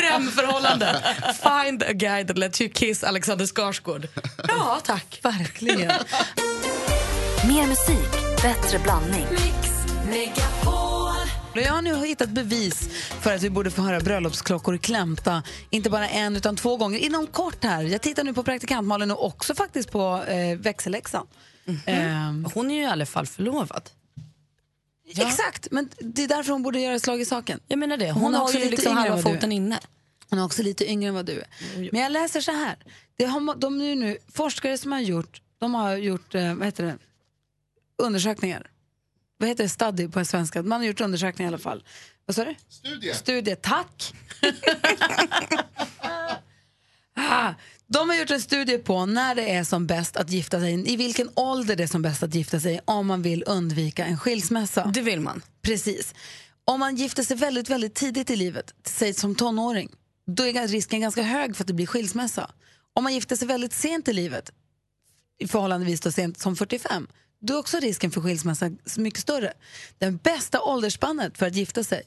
[SPEAKER 4] Drömförhållande! Find a guy that lets you kiss Alexander Skarsgård. Ja, tack. Verkligen.
[SPEAKER 10] Mer musik, bättre blandning.
[SPEAKER 2] Men Jag har nu hittat bevis för att vi borde få höra bröllopsklockor klämta, inte bara en utan två gånger inom kort här. Jag tittar nu på praktikantmalen och också faktiskt på eh, växelläxan. Ehm,
[SPEAKER 4] Hon är ju i alla fall förlovad.
[SPEAKER 2] Exakt, men det är därför hon borde göra slag i saken.
[SPEAKER 4] Jag menar det. Hon,
[SPEAKER 2] Hon är
[SPEAKER 4] har
[SPEAKER 2] också
[SPEAKER 4] ju
[SPEAKER 2] lite
[SPEAKER 4] liksom
[SPEAKER 2] yngre
[SPEAKER 4] halva
[SPEAKER 2] än vad du
[SPEAKER 4] foten
[SPEAKER 2] är.
[SPEAKER 4] inne.
[SPEAKER 2] Hon är också lite yngre än vad du är. Men jag läser så här. Det har, ma- de nu, nu, forskare som har gjort, de har gjort eh, vad heter det? undersökningar. Vad heter det? Study på svenska. Man har gjort undersökningar i alla fall. Vad sa du?
[SPEAKER 7] Studie.
[SPEAKER 2] Studie, tack. ah, de har gjort en studie på när det är som bäst att gifta sig, i vilken ålder det är som bäst att gifta sig om man vill undvika en skilsmässa.
[SPEAKER 4] Det vill man.
[SPEAKER 2] Precis. Om man gifter sig väldigt, väldigt tidigt i livet, säg som tonåring, då är risken ganska hög för att det blir skilsmässa. Om man gifter sig väldigt sent i livet, i förhållandevis då sent som 45, då är också risken för skilsmässa mycket större. Den bästa åldersspannet för att gifta sig,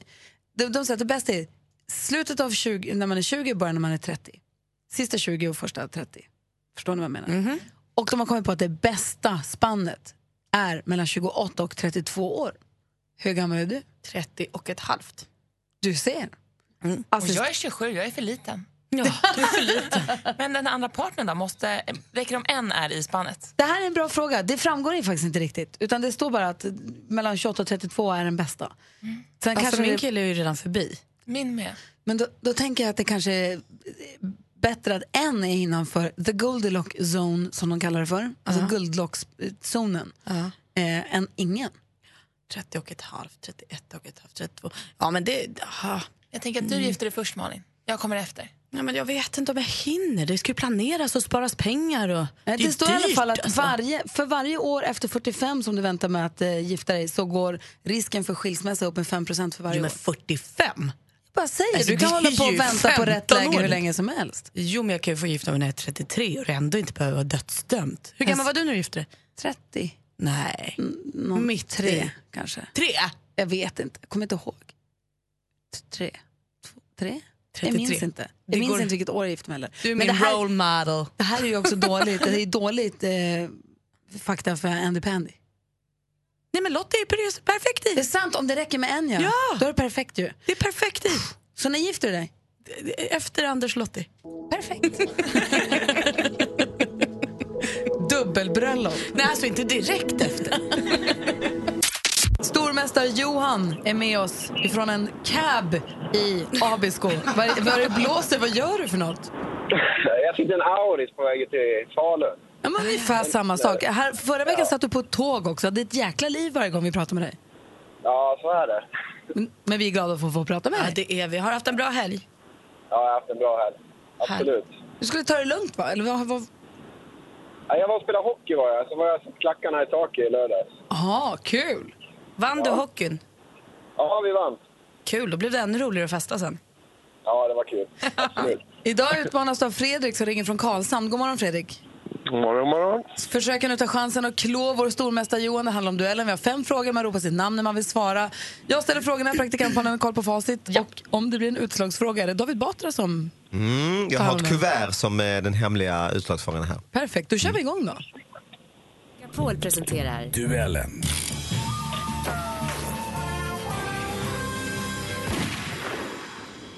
[SPEAKER 2] de, de säger att det bästa är slutet av 20, när man är 20 och början när man är 30. Sista 20 och första 30. Förstår ni vad jag menar?
[SPEAKER 4] Mhm.
[SPEAKER 2] Och de har kommit på att det bästa spannet är mellan 28 och 32 år. Hur gammal är du?
[SPEAKER 4] 30 och ett halvt. Mm.
[SPEAKER 2] Du ser. Alltså,
[SPEAKER 11] och jag är 27, jag är för liten.
[SPEAKER 4] Ja,
[SPEAKER 11] du är för liten. Men den andra partnern då? Måste, räcker om en är i spannet?
[SPEAKER 2] Det här är en bra fråga. Det framgår ju faktiskt inte riktigt. Utan det står bara att mellan 28 och 32 är den bästa. Sen
[SPEAKER 4] Alltså,
[SPEAKER 2] kanske
[SPEAKER 4] min
[SPEAKER 2] det-
[SPEAKER 4] kille är ju redan förbi.
[SPEAKER 11] Min med.
[SPEAKER 2] Men då, då tänker jag att det kanske är bättre att en är innanför the Goldilocks zone som de kallar det för. Alltså guldlockszonen. Eh, än ingen.
[SPEAKER 4] 30 och ett halvt, 31 och ett halvt, 32. Ja, men det... ah.
[SPEAKER 11] Jag tänker att du gifter dig först Malin. Jag kommer efter.
[SPEAKER 4] Ja, men jag vet inte om jag hinner. Det ska ju planeras och sparas pengar. Och...
[SPEAKER 2] Nej,
[SPEAKER 4] är
[SPEAKER 2] det
[SPEAKER 4] ju
[SPEAKER 2] står i alla
[SPEAKER 4] dyrt,
[SPEAKER 2] fall att
[SPEAKER 4] alltså.
[SPEAKER 2] varje, för varje år efter 45 som du väntar med att eh, gifta dig så går risken för skilsmässa upp med 5 för varje
[SPEAKER 4] Jo, men
[SPEAKER 2] år.
[SPEAKER 4] 45?
[SPEAKER 2] Jag bara säger,
[SPEAKER 4] Alltså,
[SPEAKER 2] du kan
[SPEAKER 4] det är
[SPEAKER 2] hålla på och
[SPEAKER 4] ju
[SPEAKER 2] vänta på rätt läge
[SPEAKER 4] 15 år.
[SPEAKER 2] hur länge som helst.
[SPEAKER 4] Jo, men jag kan ju få gifta mig när jag är 33 och ändå inte behöva vara dödsdömd. Hur gammal var du när du gifte dig?
[SPEAKER 2] 30,
[SPEAKER 4] Nej.
[SPEAKER 2] någon,
[SPEAKER 4] Mitt
[SPEAKER 2] tre
[SPEAKER 4] i.
[SPEAKER 2] kanske.
[SPEAKER 4] Tre?
[SPEAKER 2] Jag vet inte, jag kommer inte ihåg. T- Tre, två, tre? Jag
[SPEAKER 4] 33.
[SPEAKER 2] minns inte. Jag
[SPEAKER 4] Det
[SPEAKER 2] minns
[SPEAKER 4] går-
[SPEAKER 2] inte vilket år jag gifte mig heller.
[SPEAKER 4] Du är
[SPEAKER 2] Men
[SPEAKER 4] min
[SPEAKER 2] det här,
[SPEAKER 4] role model.
[SPEAKER 2] det här är ju också dåligt, det är dåligt eh, fakta för Andy Pandy.
[SPEAKER 4] Nej, men Lotta är ju perfekt
[SPEAKER 2] Det är
[SPEAKER 4] i.
[SPEAKER 2] sant, om det räcker med en ja.
[SPEAKER 4] Ja!
[SPEAKER 2] Då är det perfekt ju.
[SPEAKER 4] Det är perfekt i.
[SPEAKER 2] Så när gifter du dig?
[SPEAKER 4] Efter Anders Lotti.
[SPEAKER 2] Perfekt. Dubbelbröllop.
[SPEAKER 4] Nej, alltså inte direkt efter.
[SPEAKER 2] Stormästare Johan är med oss ifrån en cab i Abisko. Vad vad det blåser, vad gör du för något?
[SPEAKER 8] Jag fick en auris på väg till Falun.
[SPEAKER 2] Ja, men
[SPEAKER 4] Ah.
[SPEAKER 2] ungefär samma sak. Här, förra veckan satt du på ett tåg också. Det är ett jäkla liv varje gång vi pratar med dig.
[SPEAKER 8] Ja, så är det.
[SPEAKER 2] Men- Men vi är glada för att få prata med
[SPEAKER 4] Ja,
[SPEAKER 2] dig.
[SPEAKER 4] det är vi. Har haft en bra helg.
[SPEAKER 8] Ja, jag har haft en bra helg. Absolut.
[SPEAKER 2] Du skulle ta det lugnt va? Eller vad, vad...
[SPEAKER 8] Ja, jag var och spelade hockey var jag, så var jag satt klackarna i taket i lördags.
[SPEAKER 2] Aha, kul!
[SPEAKER 4] Vann du hockeyn?
[SPEAKER 8] Ja, vi vann.
[SPEAKER 4] Kul, då blev det ännu roligare att festa sen.
[SPEAKER 8] Ja, det var kul. Absolut.
[SPEAKER 2] Idag utmanas du av Fredrik som ringer från Karlshamn. God morgon Fredrik!
[SPEAKER 8] Morgon, morgon.
[SPEAKER 2] Försöker nu ta chansen att klå vår stormästare Johan. Det handlar om duellen. Vi har fem frågor. Man ropar sitt namn när man vill svara. Jag ställer frågorna, praktikanten har koll på facit. Och om det blir en utslagsfråga är det David Batra som...
[SPEAKER 12] Mm, jag har
[SPEAKER 2] Fan.
[SPEAKER 12] ett kuvert som är den hemliga utslagsfrågan här.
[SPEAKER 2] Perfekt, då kör vi igång då.
[SPEAKER 1] Megapol presenterar
[SPEAKER 9] Duellen.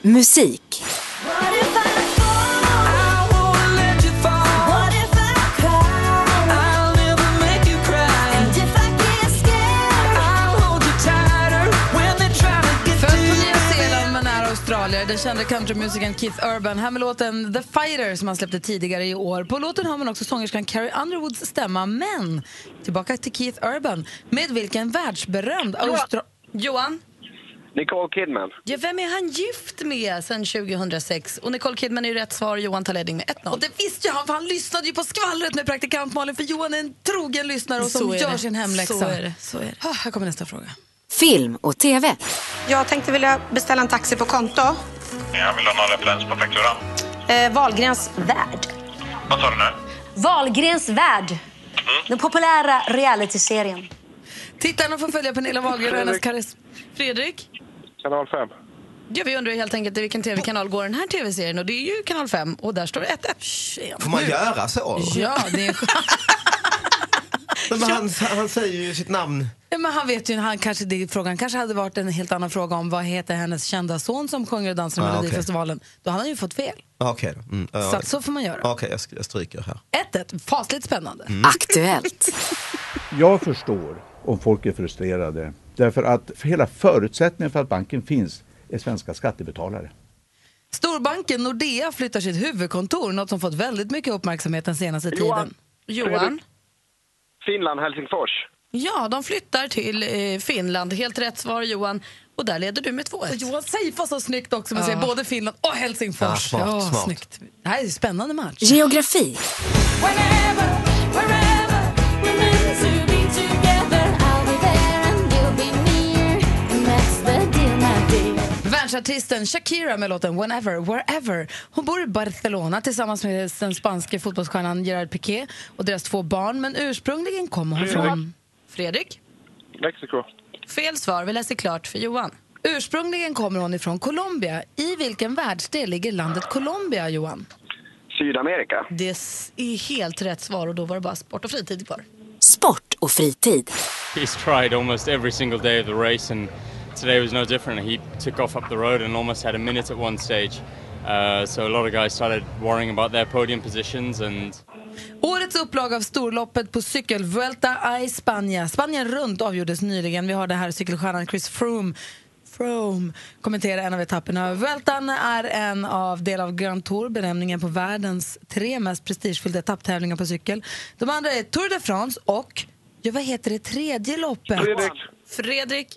[SPEAKER 1] musik.
[SPEAKER 2] Född på Nya Zeeland men är australier. Den kände countrymusikern Keith Urban. Här med låten The Fighter som han släppte tidigare i år. På låten hör man också sångerskan Carrie Underwoods stämma. Men tillbaka till Keith Urban. Med vilken världsberömd austra...
[SPEAKER 4] Johan,
[SPEAKER 8] Nicole Kidman.
[SPEAKER 4] ja, vem är han gift med sen 2006? Och Nicole Kidman är ju rätt svar. Johan tar ledning med 1-0.
[SPEAKER 2] Och det visste jag han, för han lyssnade ju på skvallret med praktikant Malin för Johan är en trogen lyssnare och som
[SPEAKER 4] Så är
[SPEAKER 2] gör
[SPEAKER 4] det.
[SPEAKER 2] sin hemläxa.
[SPEAKER 4] Så är det, så är det.
[SPEAKER 2] Ah, här kommer nästa fråga.
[SPEAKER 1] Film och TV.
[SPEAKER 5] Jag tänkte vilja beställa en taxi på konto.
[SPEAKER 8] Jag vill ha någon referens på fakturan.
[SPEAKER 5] Eh, Wahlgrens värld.
[SPEAKER 8] Vad sa du Mm. nu?
[SPEAKER 13] Valgrens värld. Den populära realityserien.
[SPEAKER 2] Tittarna får följa Pernilla Wahlgren och hennes karism.
[SPEAKER 4] Fredrik?
[SPEAKER 8] Kanal 5.
[SPEAKER 4] Ja, vi undrar ju helt enkelt i vilken tv-kanal går den här tv-serien och det är ju kanal 5 och där står det 1-1.
[SPEAKER 12] Får man göra så?
[SPEAKER 2] Ja, det är en sk-
[SPEAKER 12] Men han, han säger ju sitt namn.
[SPEAKER 2] Ja, men han vet ju, han kanske, det, frågan kanske hade varit en helt annan fråga om vad heter hennes kända son som sjunger och dansar i
[SPEAKER 12] Ah, okej.
[SPEAKER 2] Melodifestivalen. Då hade han ju fått fel.
[SPEAKER 12] Ah, Okej, då. mm, ja,
[SPEAKER 2] Så att så får man göra.
[SPEAKER 12] ja, okej, jag, sk- jag stryker här.
[SPEAKER 2] 1-1, fasligt spännande.
[SPEAKER 1] Aktuellt.
[SPEAKER 13] Jag förstår om folk är frustrerade. Därför att hela förutsättningen för att banken finns är svenska skattebetalare.
[SPEAKER 2] Storbanken Nordea flyttar sitt huvudkontor, något som fått väldigt mycket uppmärksamhet den senaste
[SPEAKER 8] Johan.
[SPEAKER 2] tiden.
[SPEAKER 4] Johan?
[SPEAKER 8] Finland, Helsingfors.
[SPEAKER 4] Ja, de flyttar till eh, Finland. Helt rätt svar Johan. Och där leder du med 2-1.
[SPEAKER 2] Och Johan Seifa så snyggt också, man
[SPEAKER 4] Ja.
[SPEAKER 2] säger både Finland och Helsingfors.
[SPEAKER 12] Ja, smart, smart.
[SPEAKER 2] Snyggt. Det här är en spännande match.
[SPEAKER 1] Geografi.
[SPEAKER 2] Världsartisten Shakira med låten Whenever, Wherever. Hon bor i Barcelona tillsammans med den spanske fotbollsstjärnan Gerard Piqué och deras två barn, men ursprungligen kommer hon från...
[SPEAKER 4] Fredrik?
[SPEAKER 8] Mexiko.
[SPEAKER 4] Fel svar. Vi läser klart för Johan.
[SPEAKER 2] Ursprungligen kommer hon ifrån Colombia. I vilken världsdel ligger landet Colombia, Johan?
[SPEAKER 8] Sydamerika.
[SPEAKER 4] Det s- är helt rätt svar och då var det bara sport och fritid kvar.
[SPEAKER 1] Sport och fritid.
[SPEAKER 14] he's tried almost every single day of the race, and today was no different. He took off up the road and almost had a minute at one stage. Uh, so a lot of guys started worrying about their podium positions, and
[SPEAKER 2] Årets upplaga av storloppet på cykel, Vuelta a España. Spanien runt avgjordes nyligen. Vi har det här cykelstjärnan Chris Froome Froome kommentera en av etapperna. Vueltan är en av del av Grand Tour, benämningen på världens tre mest prestigefyllda etapptävlingar på cykel. De andra är Tour de France och, ja, vad heter det tredje loppet?
[SPEAKER 15] Fredrik.
[SPEAKER 4] Fredrik,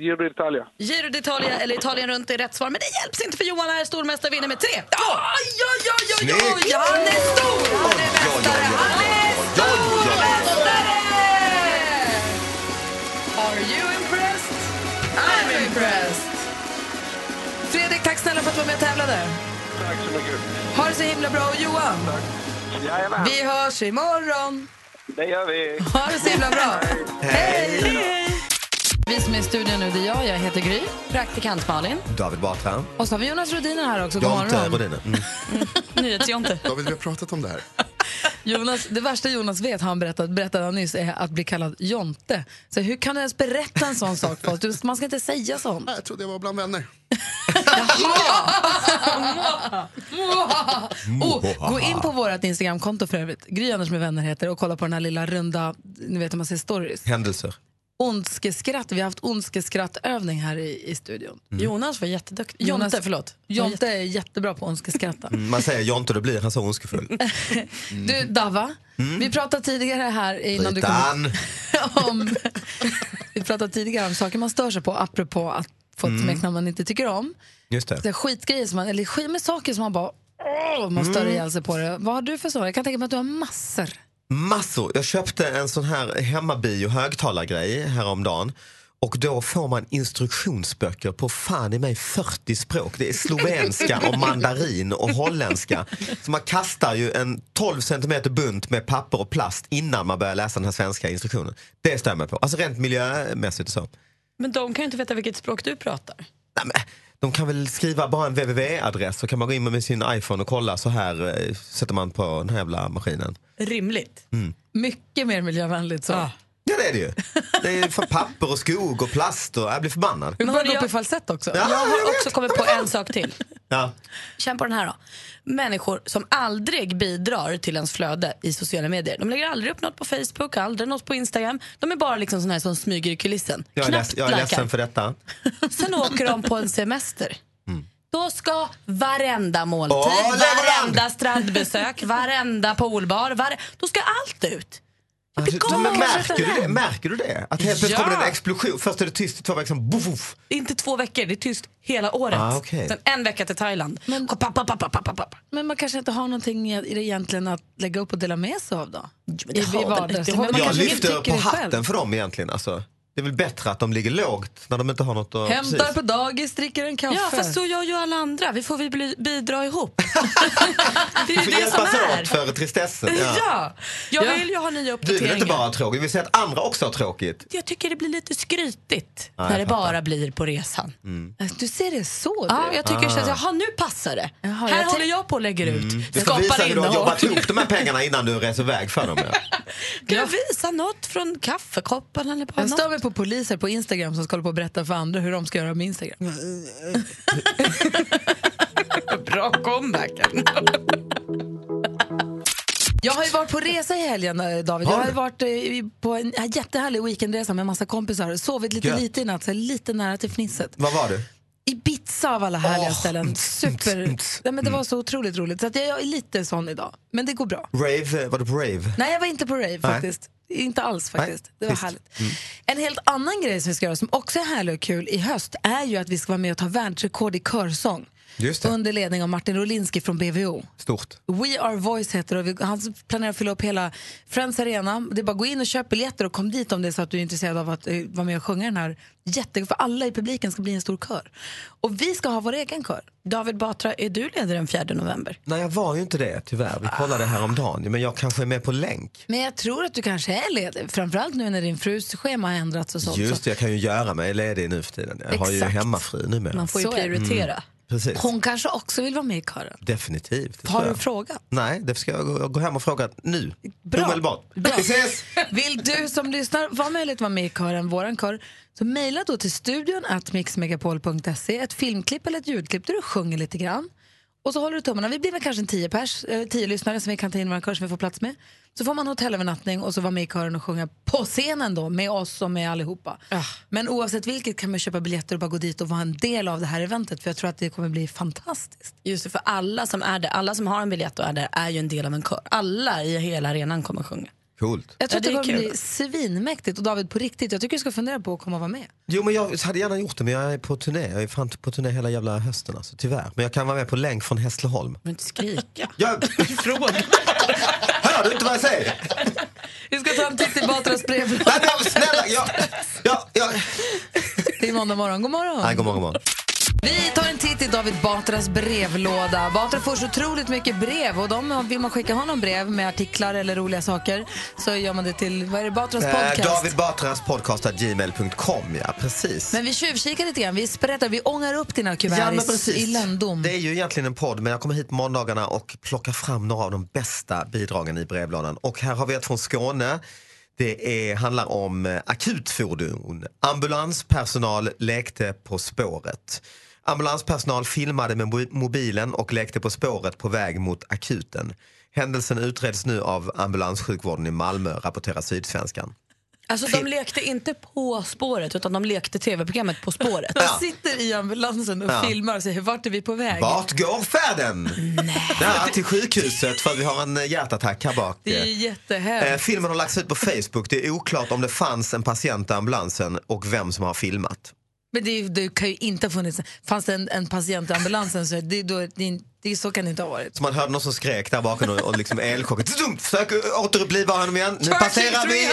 [SPEAKER 15] Giro d'Italia.
[SPEAKER 4] Giro d'Italia eller Italien runt är rätt svar, men det hjälps inte för Johan är stormästare vinner med 3. Oj, oj, oj, oj, oj,
[SPEAKER 15] Snyggt!
[SPEAKER 4] han är stor! Han är mästare! Han är stormästare! Are you impressed? I'm impressed!
[SPEAKER 2] Fredrik, tack snälla för att du var med och tävlade.
[SPEAKER 15] Tack så mycket.
[SPEAKER 2] Ha det så himla bra. Och Johan,
[SPEAKER 15] Jajamän,
[SPEAKER 2] vi hörs imorgon.
[SPEAKER 15] det gör vi.
[SPEAKER 2] Ha det så himla bra. Hej! Vi som är i studion nu, det är jag. Jag heter Gry. Praktikant Malin.
[SPEAKER 16] David Batra.
[SPEAKER 2] Och så har vi Jonas Rodiner här också. God
[SPEAKER 16] Jonte
[SPEAKER 2] morgon.
[SPEAKER 16] Rodine. Mm.
[SPEAKER 2] Nyhetsjonte.
[SPEAKER 7] David, vi har pratat om det här.
[SPEAKER 2] Jonas, det värsta Jonas vet, har han berättat, berättade han nyss, är att bli kallad Jonte. Så hur kan du ens berätta en sån sak för oss? Du, man ska inte säga sånt.
[SPEAKER 7] Jag trodde jag var bland vänner.
[SPEAKER 16] Mm.
[SPEAKER 2] oh, gå in på vårt Instagramkonto för övrigt, Gry Anders med vänner heter det, och kolla på den här lilla runda, ni vet hur man ser stories.
[SPEAKER 16] Händelser.
[SPEAKER 2] Ondskeskratt, vi har haft ondskekrattövning här i, i studion.
[SPEAKER 16] Mm.
[SPEAKER 2] Jonas var jätteduktig.
[SPEAKER 16] Jonte,
[SPEAKER 2] förlåt. Jonte är jättebra på ondskeskratta.
[SPEAKER 16] Mm, Man säger Jonte, då blir han så ondskefull.
[SPEAKER 2] Du, Dava,
[SPEAKER 16] Mm.
[SPEAKER 2] vi pratade tidigare här innan du kom
[SPEAKER 16] Utan...
[SPEAKER 2] om, vi pratade tidigare om saker man stör sig på apropå att få ett
[SPEAKER 16] Mm.
[SPEAKER 2] smeknamn man inte tycker om.
[SPEAKER 16] Just
[SPEAKER 2] Så här
[SPEAKER 16] det.
[SPEAKER 2] skitgrejer som man, eller skit med saker som man bara åh, man stör
[SPEAKER 16] Mm.
[SPEAKER 2] ihjäl sig på det. Vad har du för så? Jag kan tänka mig att du har massor.
[SPEAKER 16] Massor. Jag köpte en sån här hemmabio högtalargrej häromdagen. Och då får man instruktionsböcker på fan i mig 40 språk. Det är slovenska och mandarin och holländska. Så man kastar ju en 12 centimeter bunt med papper och plast innan man börjar läsa den här svenska instruktionen. Det stämmer på. Alltså rent miljömässigt och så.
[SPEAKER 4] Men de kan ju inte veta vilket språk du pratar.
[SPEAKER 16] De kan väl skriva bara en www-adress så kan man gå in med sin iPhone och kolla så här eh, sätter man på den här jävla maskinen.
[SPEAKER 2] Rimligt.
[SPEAKER 16] Mm.
[SPEAKER 2] Mycket mer miljövänligt så.
[SPEAKER 16] Ja det är det ju. Det är för papper och skog och plast och jag blir förbannad.
[SPEAKER 2] Vi börjar gå upp i falsett också.
[SPEAKER 4] Jag har också kommit på en sak till.
[SPEAKER 16] Ja.
[SPEAKER 4] Känn på den här då. Människor som aldrig bidrar till ens flöde i sociala medier. De lägger aldrig upp något på Facebook, aldrig något på Instagram. De är bara liksom såna här som smyger i kulissen.
[SPEAKER 16] Jag är, leds- jag är
[SPEAKER 4] likar.
[SPEAKER 16] ledsen för detta. Mm.
[SPEAKER 4] Sen åker de på en semester. Då ska varenda måltid,
[SPEAKER 16] Åh, leverand!
[SPEAKER 4] varenda strandbesök, varenda poolbar, vare... då ska allt ut.
[SPEAKER 16] Men märker, du det? märker du det? Att helt plötsligt
[SPEAKER 4] Ja.
[SPEAKER 16] kommer det en explosion. Först är det tyst i två veckor, sen boff, boff.
[SPEAKER 4] Inte två veckor, det är tyst hela året.
[SPEAKER 16] Ah, okej.
[SPEAKER 4] Sen en vecka till Thailand. Papp, papp, papp, papp, papp, papp.
[SPEAKER 2] Men man kanske inte har någonting i det egentligen att lägga upp och dela med sig av då? I- i
[SPEAKER 4] har väl-
[SPEAKER 2] vardags.
[SPEAKER 4] det har
[SPEAKER 2] Men
[SPEAKER 4] väl-
[SPEAKER 2] man
[SPEAKER 16] Jag
[SPEAKER 2] kanske
[SPEAKER 16] lyfter
[SPEAKER 2] tycker det
[SPEAKER 16] på hatten
[SPEAKER 2] själv.
[SPEAKER 16] för dem egentligen. Alltså, det är väl bättre att de ligger lågt när de inte har något att...
[SPEAKER 2] Hämtar
[SPEAKER 16] precis.
[SPEAKER 2] på dagis, dricker en kaffe.
[SPEAKER 4] Ja, fast så gör ju alla andra. Vi får vi bli, bidra ihop. det är
[SPEAKER 16] Vi
[SPEAKER 4] ju
[SPEAKER 16] får
[SPEAKER 4] det som
[SPEAKER 16] hjälpas
[SPEAKER 4] är.
[SPEAKER 16] åt för tristessen.
[SPEAKER 4] Ja. jag vill ju ha nya
[SPEAKER 16] Du vill
[SPEAKER 4] uppdateringar.
[SPEAKER 16] inte bara ha tråkigt, vi vill se att andra också har tråkigt.
[SPEAKER 4] Jag tycker det blir lite skrytigt
[SPEAKER 16] Ja, jag
[SPEAKER 4] när det
[SPEAKER 16] fattar.
[SPEAKER 4] bara blir på resan.
[SPEAKER 16] Mm.
[SPEAKER 2] Äh, Du ser det så
[SPEAKER 4] Ja, jag tycker det
[SPEAKER 16] Ah.
[SPEAKER 4] känns, jaha nu passar det. här
[SPEAKER 2] jag
[SPEAKER 4] håller jag på och lägger ut.
[SPEAKER 16] Du får
[SPEAKER 4] Skapar
[SPEAKER 16] visa hur du har
[SPEAKER 4] innehåll.
[SPEAKER 16] jobbat ihop de här pengarna innan du reser iväg för dem. ja.
[SPEAKER 4] Kan du visa något från kaffekoppen eller bara
[SPEAKER 2] Jag
[SPEAKER 4] något?
[SPEAKER 2] stör mig på poliser på Instagram som ska hålla på och berätta för andra hur de ska göra med Instagram.
[SPEAKER 4] Bra comeback.
[SPEAKER 2] Jag har ju varit på resa i helgen, eh, David.
[SPEAKER 4] Har
[SPEAKER 2] Jag har
[SPEAKER 4] du?
[SPEAKER 2] ju varit eh, i- på en här jättehärlig weekendresa med massa kompisar. Sovit lite
[SPEAKER 16] Gött.
[SPEAKER 2] lite i natt, så jag är lite nära till fnisset.
[SPEAKER 16] Vad var du?
[SPEAKER 2] Ibiza av alla härliga ställen. Super. Nej, men det var
[SPEAKER 16] mm.
[SPEAKER 2] så otroligt roligt. Så att jag, jag är lite sån idag. Men det går bra.
[SPEAKER 16] Rave, eh, var du på rave?
[SPEAKER 2] Nej, jag var inte på rave faktiskt. Inte alls faktiskt. det var härligt.
[SPEAKER 16] Mm.
[SPEAKER 2] En helt annan grej som vi ska göra som också är härlig och kul i höst är ju att vi ska vara med och ta världsrekord i körsång.
[SPEAKER 16] Just det.
[SPEAKER 2] Under ledning av Martin Rolinski från BVO.
[SPEAKER 16] Stort.
[SPEAKER 2] We Are Voice heter det och vi, han planerar att fylla upp hela Friends Arena. Det är bara att gå in och köpa biljetter och kom dit om det är så att du är intresserad av att eh, vara med och sjunga den här jätte... För alla i publiken ska bli en stor kör. Och vi ska ha vår egen kör.
[SPEAKER 4] David Batra, är du ledare den 4 november?
[SPEAKER 16] Nej, jag var ju inte det tyvärr. Vi kollade häromdagen. Men jag kanske är med på länk.
[SPEAKER 2] Men jag tror att du kanske är ledig, framförallt nu när din frus schema har ändrats och sånt.
[SPEAKER 16] Just det, jag kan ju göra mig ledig nu för tiden. Jag har ju
[SPEAKER 2] Exakt.
[SPEAKER 16] hemmafru numera.
[SPEAKER 2] Man får ju
[SPEAKER 16] Så är det.
[SPEAKER 2] prioritera.
[SPEAKER 16] Mm. Precis.
[SPEAKER 2] Hon kanske också vill vara med i kören.
[SPEAKER 16] Definitivt. det
[SPEAKER 2] Har
[SPEAKER 16] tror
[SPEAKER 2] du
[SPEAKER 16] jag.
[SPEAKER 2] en fråga?
[SPEAKER 16] Nej, det ska jag gå, jag går hem och fråga nu.
[SPEAKER 2] Bra.
[SPEAKER 16] Omedelbart. Vi ses!
[SPEAKER 2] Vill du som lyssnar vara möjligt att vara med i kören, våran kör, så mejla då till studion at mixmegapol.se ett filmklipp eller ett ljudklipp där du sjunger lite grann. Och så håller du tummarna. Vi blir väl kanske en tio, pers, eh, tio lyssnare som vi kan ta in i vår kör som vi får plats med. Så får man hotellövernattning och så vara med i kören och sjunga på scenen då med oss och med allihopa.
[SPEAKER 4] Ah.
[SPEAKER 2] Men oavsett vilket kan man köpa biljetter och bara gå dit och vara en del av det här eventet för jag tror att det kommer bli fantastiskt.
[SPEAKER 4] Just det, för alla som är där, alla som har en biljett och är där är ju en del av en kör. Alla i hela arenan kommer sjunga.
[SPEAKER 16] Coolt.
[SPEAKER 2] Jag tror
[SPEAKER 4] Ja, det är
[SPEAKER 2] att det kommer
[SPEAKER 4] kul.
[SPEAKER 2] bli svinmäktigt och David på riktigt, jag tycker du ska fundera på att komma och vara med.
[SPEAKER 16] Jo men jag hade gärna gjort det men jag är på turné. Jag är fan på turné hela jävla hösten alltså, tyvärr. Men jag kan vara med på länk från Hässleholm.
[SPEAKER 4] Men inte skrika.
[SPEAKER 16] Jag... Fråga. Hör du inte vad jag säger?
[SPEAKER 2] Vi ska ta en titt i Batras brevlåda.
[SPEAKER 16] snälla, jag,
[SPEAKER 2] Det är måndag morgon. God morgon.
[SPEAKER 16] Nej, god morgon, god morgon.
[SPEAKER 2] Vi tar en titt i David Batras brevlåda. Batra får så otroligt mycket brev och de, vill man skicka honom brev med artiklar eller roliga saker så gör man det till, vad är det, Batras podcast?
[SPEAKER 16] Eh, David Batras podcast at gmail.com ja, precis.
[SPEAKER 2] Men vi tjuvkikar lite grann, vi sprättar, vi ångar upp dina kuvert
[SPEAKER 16] Ja, men
[SPEAKER 2] i,
[SPEAKER 16] precis.
[SPEAKER 2] i lönndom.
[SPEAKER 16] Det är ju egentligen en podd men jag kommer hit måndagarna och plockar fram några av de bästa bidragen i brevlådan. Och här har vi ett från Skåne. Det är, handlar om eh, akutfordon. Ambulanspersonal lekte på spåret. Ambulanspersonal filmade med mo- mobilen och lekte på spåret på väg mot akuten. Händelsen utreds nu av ambulanssjukvården i Malmö, rapporterar Sydsvenskan.
[SPEAKER 4] Alltså de lekte inte På spåret, utan de lekte tv-programmet På spåret.
[SPEAKER 16] Ja.
[SPEAKER 2] De sitter i ambulansen och
[SPEAKER 16] Ja.
[SPEAKER 2] filmar och säger vart är vi på väg?
[SPEAKER 16] Vart går färden? Nej. Till sjukhuset för att vi har en eh, hjärtattack här bak.
[SPEAKER 2] Det är ju
[SPEAKER 16] Eh,
[SPEAKER 2] jättehemskt.
[SPEAKER 16] filmen har lagts ut på Facebook. Det är oklart om det fanns en patient i ambulansen och vem som har filmat.
[SPEAKER 2] Men det, är ju- det kan ju inte ha funnits, fanns det en, en patient i ambulansen så, det, är då, det, är- det, är- så kan det inte ha varit.
[SPEAKER 16] Så man hörde någon som skrek där bakom och, och liksom elchocket. Zoom! Försök återuppliva honom igen. Nu passerar vi!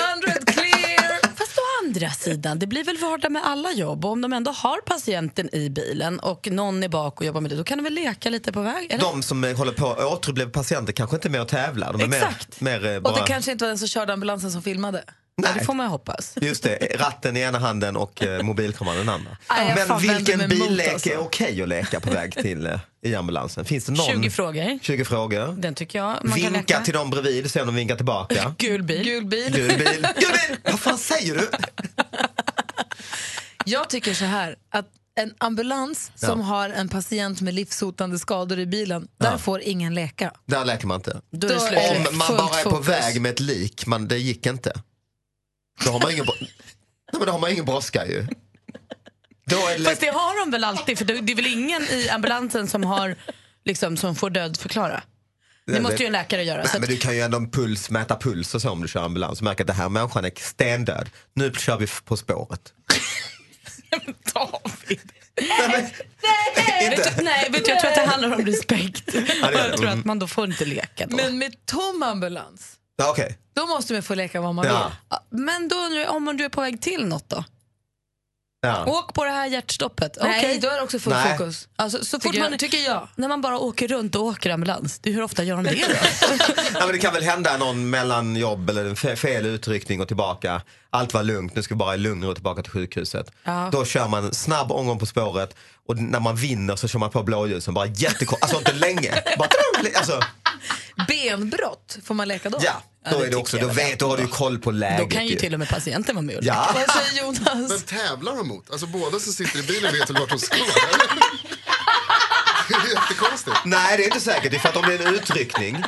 [SPEAKER 4] Fast å andra sidan, det blir väl vardag med alla jobb. Och om de ändå har patienten i bilen och någon är bak och jobbar med det, då kan de väl leka lite på vägen?
[SPEAKER 16] De som eh, håller på att återuppliva patienter kanske inte är med och tävlar. De är
[SPEAKER 4] Exakt.
[SPEAKER 16] mer, mer eh,
[SPEAKER 2] Och
[SPEAKER 16] bara...
[SPEAKER 2] det kanske inte var den som körde ambulansen som filmade.
[SPEAKER 16] Nej.
[SPEAKER 2] det får
[SPEAKER 4] man hoppas.
[SPEAKER 16] Just det, ratten i ena handen och eh, mobilkameran i den andra.
[SPEAKER 2] Aj, jag
[SPEAKER 16] Men
[SPEAKER 2] fan vänder mig
[SPEAKER 16] vilken
[SPEAKER 2] emot,
[SPEAKER 16] billek
[SPEAKER 2] alltså.
[SPEAKER 16] är okej att leka på väg till eh, i ambulansen? Finns det någon?
[SPEAKER 4] 20 frågor.
[SPEAKER 16] 20 frågor.
[SPEAKER 4] Den tycker jag man kan
[SPEAKER 16] Vinka
[SPEAKER 4] leka.
[SPEAKER 16] till dem bredvid, se om de vinkar tillbaka.
[SPEAKER 4] Gul bil.
[SPEAKER 2] Gul bil.
[SPEAKER 16] Gul bil. Vad fan säger du?
[SPEAKER 2] Jag tycker så här att en ambulans
[SPEAKER 16] Ja.
[SPEAKER 2] som har en patient med livshotande skador i bilen, där
[SPEAKER 16] Ja.
[SPEAKER 2] får ingen leka.
[SPEAKER 16] Där läker man inte.
[SPEAKER 2] Då är det slut.
[SPEAKER 16] Om man
[SPEAKER 2] Fullt
[SPEAKER 16] bara är på
[SPEAKER 2] fokus.
[SPEAKER 16] väg med ett lik, men det gick inte. Då har man ingen, bro- Nej, men då har man ingen brådska ju. Då är det
[SPEAKER 4] Fast det har de väl alltid, för det det är väl ingen i ambulansen som, har, liksom, som får dödförklara? Det
[SPEAKER 16] Jag
[SPEAKER 4] måste
[SPEAKER 16] vet-
[SPEAKER 4] ju en läkare göra.
[SPEAKER 16] Nej,
[SPEAKER 4] så att-
[SPEAKER 16] men du kan ju ändå en puls, mäta puls och så om du kör ambulans och märker att det här människan är stendöd. Nu kör vi f- På spåret.
[SPEAKER 4] Nej, vet du, nej, vet du, jag tror att det handlar om respekt.
[SPEAKER 16] Ja, det gör
[SPEAKER 4] jag
[SPEAKER 16] det.
[SPEAKER 4] tror att
[SPEAKER 16] Mm.
[SPEAKER 4] man då får inte leka då.
[SPEAKER 2] Men med tom ambulans,
[SPEAKER 16] Ja, Okej.
[SPEAKER 2] då måste man få leka vad man
[SPEAKER 16] Ja.
[SPEAKER 2] vill.
[SPEAKER 4] Men då undrar jag, om du är på väg till något då?
[SPEAKER 16] Ja.
[SPEAKER 4] Åk på det här hjärtstoppet.
[SPEAKER 2] Nej,
[SPEAKER 4] Okej.
[SPEAKER 2] då är det också fullt
[SPEAKER 16] Nej.
[SPEAKER 2] fokus.
[SPEAKER 4] Alltså, så fort
[SPEAKER 2] Tycker jag-
[SPEAKER 4] man,
[SPEAKER 2] tycker jag.
[SPEAKER 4] När man bara åker runt och åker ambulans, det, hur ofta gör de det då?
[SPEAKER 16] Ja, men det kan väl hända någon mellanjobb eller en fe- fel utryckning och tillbaka. Allt var lugnt, nu ska vi bara i lugn och ro tillbaka till sjukhuset.
[SPEAKER 4] Ja.
[SPEAKER 16] Då kör man snabb omgång på spåret och när man vinner så kör man på blåljusen bara jättekort, alltså inte länge. Bara, alltså,
[SPEAKER 2] Benbrott, får man leka då?
[SPEAKER 16] ja, då är det också, då vet du, har du ju koll på läget.
[SPEAKER 4] Då kan ju till och med patienten vara med och leka.
[SPEAKER 16] Ja.
[SPEAKER 2] Vad säger Jonas?
[SPEAKER 7] Men tävlar de mot? Alltså båda som sitter i bilen vet väl vart de ska? eller? Det är jättekonstigt.
[SPEAKER 16] Nej, det är inte säkert. Det är för att om det är en utryckning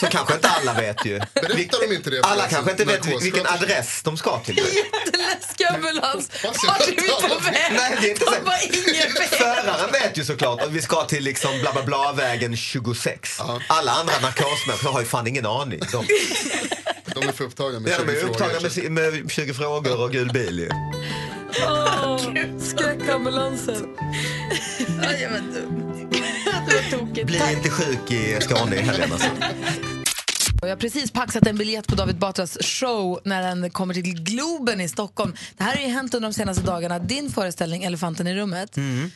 [SPEAKER 16] så kanske inte alla vet ju.
[SPEAKER 7] Berättar de inte det? för
[SPEAKER 16] Alla
[SPEAKER 7] oss
[SPEAKER 16] kanske inte vet vilken
[SPEAKER 7] narkossköterskor?
[SPEAKER 16] adress de ska till.
[SPEAKER 2] Jätteläskig ambulans. Vart är vi på väg?
[SPEAKER 16] Nej, det är inte
[SPEAKER 2] De bara, ingen vet.
[SPEAKER 16] Föraren vet ju såklart att vi ska till liksom bla bla bla vägen 26. Alla andra narkosmänniskor har ju fan ingen aning. De,
[SPEAKER 7] De är för upptagna med
[SPEAKER 16] ja, de
[SPEAKER 7] 20
[SPEAKER 16] är upptagna
[SPEAKER 7] frågor.
[SPEAKER 16] med, si- med 20 frågor och gul bil ju.
[SPEAKER 2] Åh, Skräckambulansen. Aj, jag var dum. Det var tokigt.
[SPEAKER 16] Bli inte sjuk i Skåne i helgen alltså.
[SPEAKER 2] Och jag har precis paxat en biljett på David Batras show när den kommer till Globen i Stockholm. Det här har ju hänt under de senaste dagarna. Din föreställning Elefanten i rummet
[SPEAKER 17] Mm.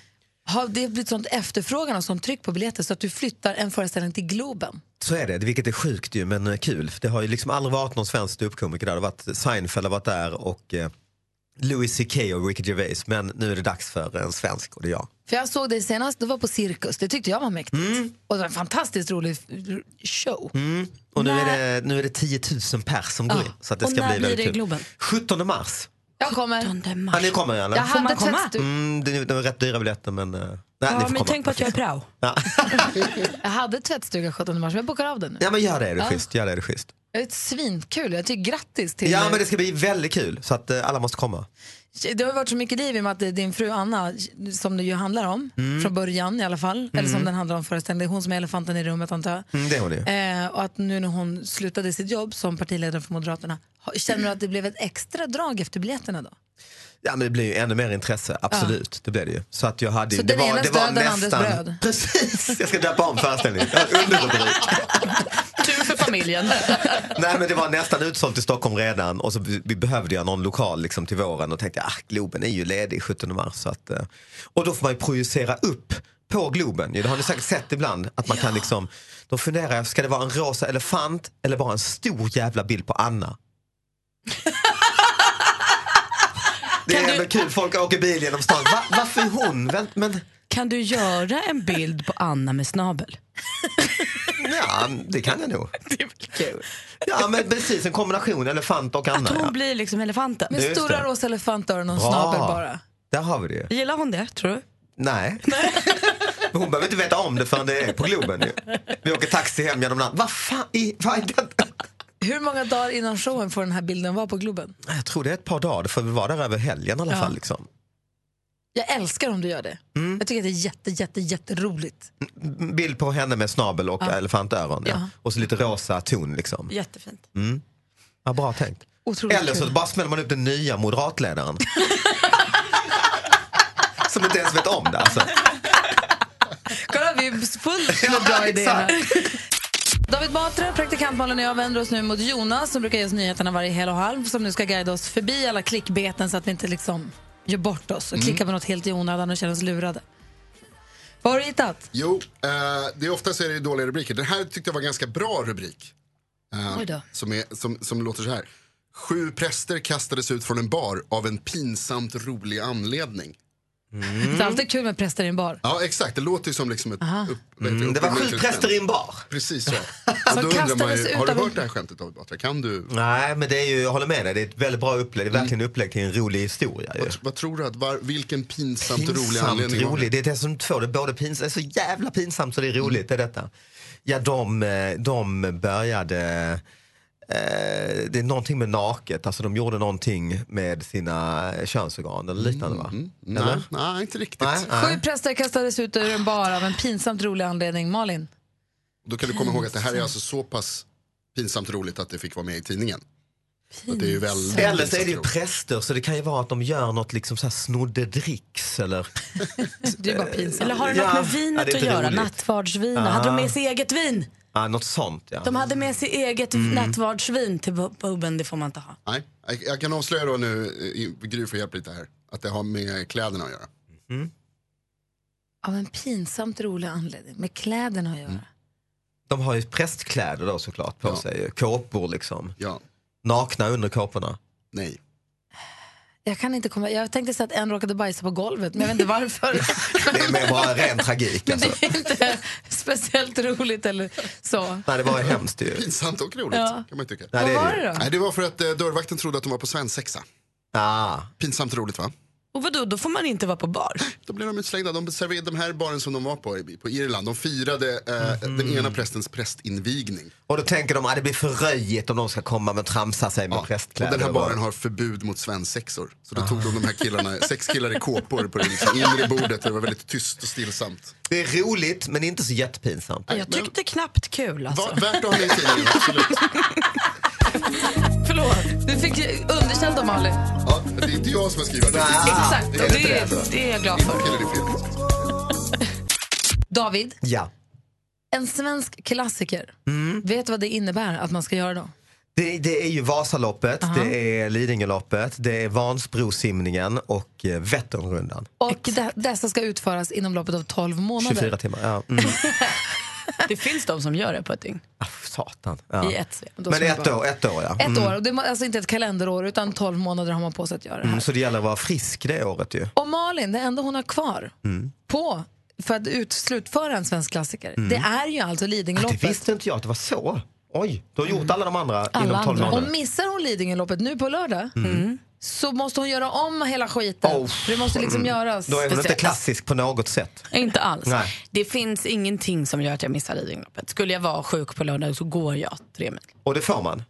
[SPEAKER 2] har det blivit sånt efterfrågan och sånt tryck på biljetter så att du flyttar en föreställning till Globen.
[SPEAKER 16] Så är det, vilket är sjukt ju men eh, kul. För Det har ju liksom aldrig varit någon svensk ståuppkomiker där. Det har varit Seinfeld har varit där och eh, Louis CK och Ricky Gervais, men nu är det dags för en svensk och det är jag.
[SPEAKER 2] För jag såg dig senast, du var på Cirkus. Det tyckte jag var mäktigt. Och det var en fantastiskt rolig f- show.
[SPEAKER 16] Mm. Och nu är, det, nu är det 10 000 pers som går
[SPEAKER 2] Ja.
[SPEAKER 16] in. Så att det
[SPEAKER 2] Och
[SPEAKER 16] ska
[SPEAKER 2] när
[SPEAKER 16] bli
[SPEAKER 2] blir
[SPEAKER 16] väldigt
[SPEAKER 2] det i
[SPEAKER 16] kul.
[SPEAKER 2] Globen?
[SPEAKER 16] 17 mars.
[SPEAKER 2] Jag kommer.
[SPEAKER 16] Ja, ni kommer gärna.
[SPEAKER 2] Jag hade test-
[SPEAKER 16] Mm, det, det var rätt dyra biljetter men... eh, Nej, ni får komma.
[SPEAKER 2] prao.
[SPEAKER 16] Ja.
[SPEAKER 2] jag hade tvättstuga 17 mars, men jag bokar av den nu.
[SPEAKER 16] ja men gör det, är det schysst. Gör det, är det schysst.
[SPEAKER 2] Det är ett svinkul. Jag tycker grattis till
[SPEAKER 16] Ja men det ska bli väldigt kul så att eh, alla måste komma.
[SPEAKER 2] Det har ju varit så mycket liv i och med att det är din fru Anna, som det ju handlar om,
[SPEAKER 16] Mm.
[SPEAKER 2] från början i alla fall, eller som
[SPEAKER 16] Mm.
[SPEAKER 2] den handlar om föreställningen, det är hon som är elefanten i rummet antar jag.
[SPEAKER 16] Mm, det är hon ju.
[SPEAKER 2] Eh, och att nu när hon slutade sitt jobb som partiledare för Moderaterna, ha- känner du att det blev ett extra drag efter biljetterna då?
[SPEAKER 16] Ja men det blir ju ännu mer intresse, absolut. Det blir det ju. Så att jag hade ju...
[SPEAKER 2] Så
[SPEAKER 16] det
[SPEAKER 2] den
[SPEAKER 16] var,
[SPEAKER 2] enes
[SPEAKER 16] det var
[SPEAKER 2] död, den andres
[SPEAKER 16] nästan-
[SPEAKER 2] bröd.
[SPEAKER 16] Precis, jag ska döpa om föreställningen. Jag har en Underrubrik.
[SPEAKER 4] Tur för familjen.
[SPEAKER 16] Nej men det var nästan utsålt i Stockholm redan och så vi vi behövde jag någon lokal liksom till våren och tänkte ah, Globen är ju ledig 17 mars. Så att, eh, och då får man ju projicera upp på Globen. ju. Det har ni säkert sett ibland. Att man kan liksom, då funderar jag, ska det vara en rosa elefant eller bara en stor jävla bild på Anna? Det är ändå kul, folk åker bil genom stan. Va, varför är hon? Vänt, men,
[SPEAKER 18] Kan du göra en bild på Anna med snabel?
[SPEAKER 16] ja, det kan jag nog. Ja men precis, en kombination elefant och Anna.
[SPEAKER 18] Att hon
[SPEAKER 16] ja.
[SPEAKER 18] blir liksom elefanten?
[SPEAKER 16] Med Just stora det.
[SPEAKER 2] rosa elefantöron
[SPEAKER 16] Bra. Där har vi det ju.
[SPEAKER 18] Gillar hon det, tror du?
[SPEAKER 16] Nej. Men hon behöver inte veta om det förrän det är på Globen. Ju. Vi åker taxi hem genom natten. Vad fan är, vad är det?
[SPEAKER 2] Hur många dagar innan showen får den här bilden vara på Globen?
[SPEAKER 16] Ah, Jag tror det är ett par dagar, för vi var där över helgen i alla
[SPEAKER 2] Ja.
[SPEAKER 16] fall. Liksom.
[SPEAKER 2] Jag älskar om du gör det.
[SPEAKER 16] Mm.
[SPEAKER 2] Jag tycker att det är jätte, jätte, jätteroligt.
[SPEAKER 16] M- Bild på henne med snabel och
[SPEAKER 2] Ja.
[SPEAKER 16] elefantöron. Ja.
[SPEAKER 2] Ja.
[SPEAKER 16] Och så lite rosa ton. Liksom.
[SPEAKER 2] Jättefint.
[SPEAKER 16] Mm. Ja, bra tänkt.
[SPEAKER 2] Otroligt
[SPEAKER 16] Eller så
[SPEAKER 2] kul.
[SPEAKER 16] bara smäller man upp den nya moderatledaren. Som inte ens vet om det. Alltså.
[SPEAKER 2] Kolla, vi är fullt med bra idéer här. David Batra, praktikant Malin och jag vänder oss nu mot Jonas som brukar ge oss nyheterna varje hel och halv som nu ska guida oss förbi alla klickbeten så att vi inte liksom gör bort oss och
[SPEAKER 7] Mm.
[SPEAKER 2] klickar på något helt i onödan och känner oss lurade. Vad har du hittat?
[SPEAKER 7] Jo, eh, det är ofta så är det dåliga rubriker. Den här tyckte jag var en ganska bra rubrik. Eh,
[SPEAKER 2] Oj då.
[SPEAKER 7] Som, är, som, som låter så här. Sju präster kastades ut från en bar av en pinsamt rolig anledning.
[SPEAKER 2] Det är
[SPEAKER 16] Mm.
[SPEAKER 2] alltid kul med präster i en bar.
[SPEAKER 7] Ja, exakt. Det låter ju som liksom ett... Upp, vad heter
[SPEAKER 16] Mm, det var
[SPEAKER 7] uppmuntrat
[SPEAKER 16] sju präster i en
[SPEAKER 7] skämt.
[SPEAKER 16] bar.
[SPEAKER 7] Precis så.
[SPEAKER 2] Som
[SPEAKER 7] Och då undrar man
[SPEAKER 2] kastades
[SPEAKER 7] ju,
[SPEAKER 2] ut
[SPEAKER 7] har du
[SPEAKER 2] av en-
[SPEAKER 7] hört det här skämtet David Batra? Kan du?
[SPEAKER 16] Nej, men det är ju, jag håller med dig. Det är ett väldigt bra upplägg. Det är verkligen upplägg till en rolig historia. Ju.
[SPEAKER 7] Vad tror du? att var, Vilken pinsamt, rolig
[SPEAKER 16] Pinsamt
[SPEAKER 7] anledning var det?
[SPEAKER 16] rolig. Det är det som två, det är både pinsamt, det är så jävla pinsamt så det är roligt.
[SPEAKER 7] Mm.
[SPEAKER 16] Det är detta. Ja, de, eh, de började, eh, det är någonting med naket, alltså de gjorde någonting med sina könsorgan eller liknande va?
[SPEAKER 7] Mm, Nej, nej, inte riktigt.
[SPEAKER 16] Nej, nej.
[SPEAKER 2] Sju präster kastades ut ur en bar av en pinsamt rolig anledning. Malin?
[SPEAKER 7] Då kan du komma ihåg att det här är alltså så pass pinsamt roligt att det fick vara med i tidningen. Så Det är ju väldigt
[SPEAKER 16] Eller så är det ju
[SPEAKER 7] pinsamt roligt.
[SPEAKER 16] präster så det kan ju vara att de gör något liksom så här snoddedricks eller
[SPEAKER 2] Det är bara pinsamt.
[SPEAKER 18] Eh, Eller har det något
[SPEAKER 16] Ja.
[SPEAKER 18] med
[SPEAKER 16] Ja,
[SPEAKER 18] vinet
[SPEAKER 16] det
[SPEAKER 18] att
[SPEAKER 16] är inte
[SPEAKER 18] göra?
[SPEAKER 16] roligt.
[SPEAKER 18] Nattvardsvin? Hade de
[SPEAKER 16] Ah.
[SPEAKER 18] med sig eget vin?
[SPEAKER 16] ja, något sånt. Ja.
[SPEAKER 18] De hade med sig eget
[SPEAKER 7] Mm.
[SPEAKER 18] nattvardsvin till bu- puben, det får man inte ha.
[SPEAKER 7] Nej, jag, jag kan avslöja då nu, eh, Gry får hjälp lite här, att det har med kläderna att göra.
[SPEAKER 2] Av en pinsamt rolig anledning. Med kläderna att göra.
[SPEAKER 16] De har ju prästkläder då såklart på sig, ju. kåpor liksom.
[SPEAKER 7] Ja.
[SPEAKER 16] Nakna under kåporna.
[SPEAKER 7] Nej.
[SPEAKER 2] Jag kan inte komma... Jag tänkte så att en råkade bajsa på golvet, men jag vet inte varför.
[SPEAKER 16] Det är mer bara ren tragik alltså.
[SPEAKER 2] Det är inte speciellt roligt eller så.
[SPEAKER 16] Nej, det var hemskt ju.
[SPEAKER 7] Pinsamt och roligt
[SPEAKER 2] Ja.
[SPEAKER 7] kan man ju tycka.
[SPEAKER 2] Vad Nej, det är var det ju. då?
[SPEAKER 7] Nej, det var för att eh, dörrvakten trodde att de var på svensexa.
[SPEAKER 16] Ah.
[SPEAKER 7] Pinsamt roligt va?
[SPEAKER 18] Och vadå, då får man inte vara på bar?
[SPEAKER 7] Då blev de utslängda. De serverade de här baren som de var på, i- på Irland. De firade eh,
[SPEAKER 16] Mhm.
[SPEAKER 7] den ena prästens prästinvigning.
[SPEAKER 16] Och då tänker de att det blir för röjigt om de ska komma med och tramsa sig med
[SPEAKER 7] Och
[SPEAKER 16] prästkläder.
[SPEAKER 7] den här
[SPEAKER 16] och Ah. bara-
[SPEAKER 7] baren har förbud mot svensexor. Så då tog de de här killarna, sex killar i kåpor på det liksom inre bordet. Det var väldigt tyst och stillsamt.
[SPEAKER 16] Det är roligt men inte så jättepinsamt.
[SPEAKER 4] Mm.
[SPEAKER 18] Jag tyckte knappt kul alltså.
[SPEAKER 7] Värt att ha med i tidningen, absolut.
[SPEAKER 2] Förlåt. Du fick ju underkänt av Malin.
[SPEAKER 7] Ja, det är inte jag som har skrivit den.
[SPEAKER 2] Exakt, och
[SPEAKER 7] inte
[SPEAKER 2] det är-
[SPEAKER 7] alltså.
[SPEAKER 2] det är jag glad för.
[SPEAKER 7] Inte killar i fel.
[SPEAKER 2] David,
[SPEAKER 16] Ja.
[SPEAKER 2] en svensk klassiker.
[SPEAKER 16] Mm.
[SPEAKER 2] Vet du vad det innebär att man ska göra då?
[SPEAKER 16] Det, det är ju Vasaloppet, det är Lidingöloppet, det är Vansbrosimningen och eh, Vätternrundan.
[SPEAKER 2] Och de, dessa ska utföras inom loppet av 12 månader.
[SPEAKER 16] 24 timmar. Ja. Mm. Ah,
[SPEAKER 18] Det finns de som gör det på ett dygn.
[SPEAKER 16] satan. Ja.
[SPEAKER 2] I ett svep. Då
[SPEAKER 16] Men
[SPEAKER 2] ska man
[SPEAKER 16] ett
[SPEAKER 2] bara-
[SPEAKER 16] år, ett år ja.
[SPEAKER 2] Ett
[SPEAKER 16] Mm.
[SPEAKER 2] år, och det är alltså inte ett kalenderår utan 12 månader har man på sig att göra det här.
[SPEAKER 16] Mm, så det gäller att vara frisk det året ju.
[SPEAKER 2] Och Malin, det enda hon har kvar
[SPEAKER 16] Mm.
[SPEAKER 2] på för att ut, slutföra en svensk klassiker,
[SPEAKER 16] Mm.
[SPEAKER 2] det är ju alltså
[SPEAKER 16] Det
[SPEAKER 2] Lidingöloppet. Mm.
[SPEAKER 16] visste inte jag att det var så. Oj, du har gjort alla de andra
[SPEAKER 2] Alla
[SPEAKER 16] inom 12
[SPEAKER 2] andra.
[SPEAKER 16] månader.
[SPEAKER 2] Om missar hon Lidingöloppet nu på lördag
[SPEAKER 16] Mm.
[SPEAKER 2] så måste hon göra om hela skiten. För det måste liksom
[SPEAKER 16] Mm.
[SPEAKER 2] göras.
[SPEAKER 16] Då är hon inte klassisk på något sätt.
[SPEAKER 4] Inte alls.
[SPEAKER 16] Nej.
[SPEAKER 4] Det finns ingenting som gör att jag missar Lidingöloppet. Skulle jag vara sjuk på lördag så går jag tre mil.
[SPEAKER 16] Och det får man.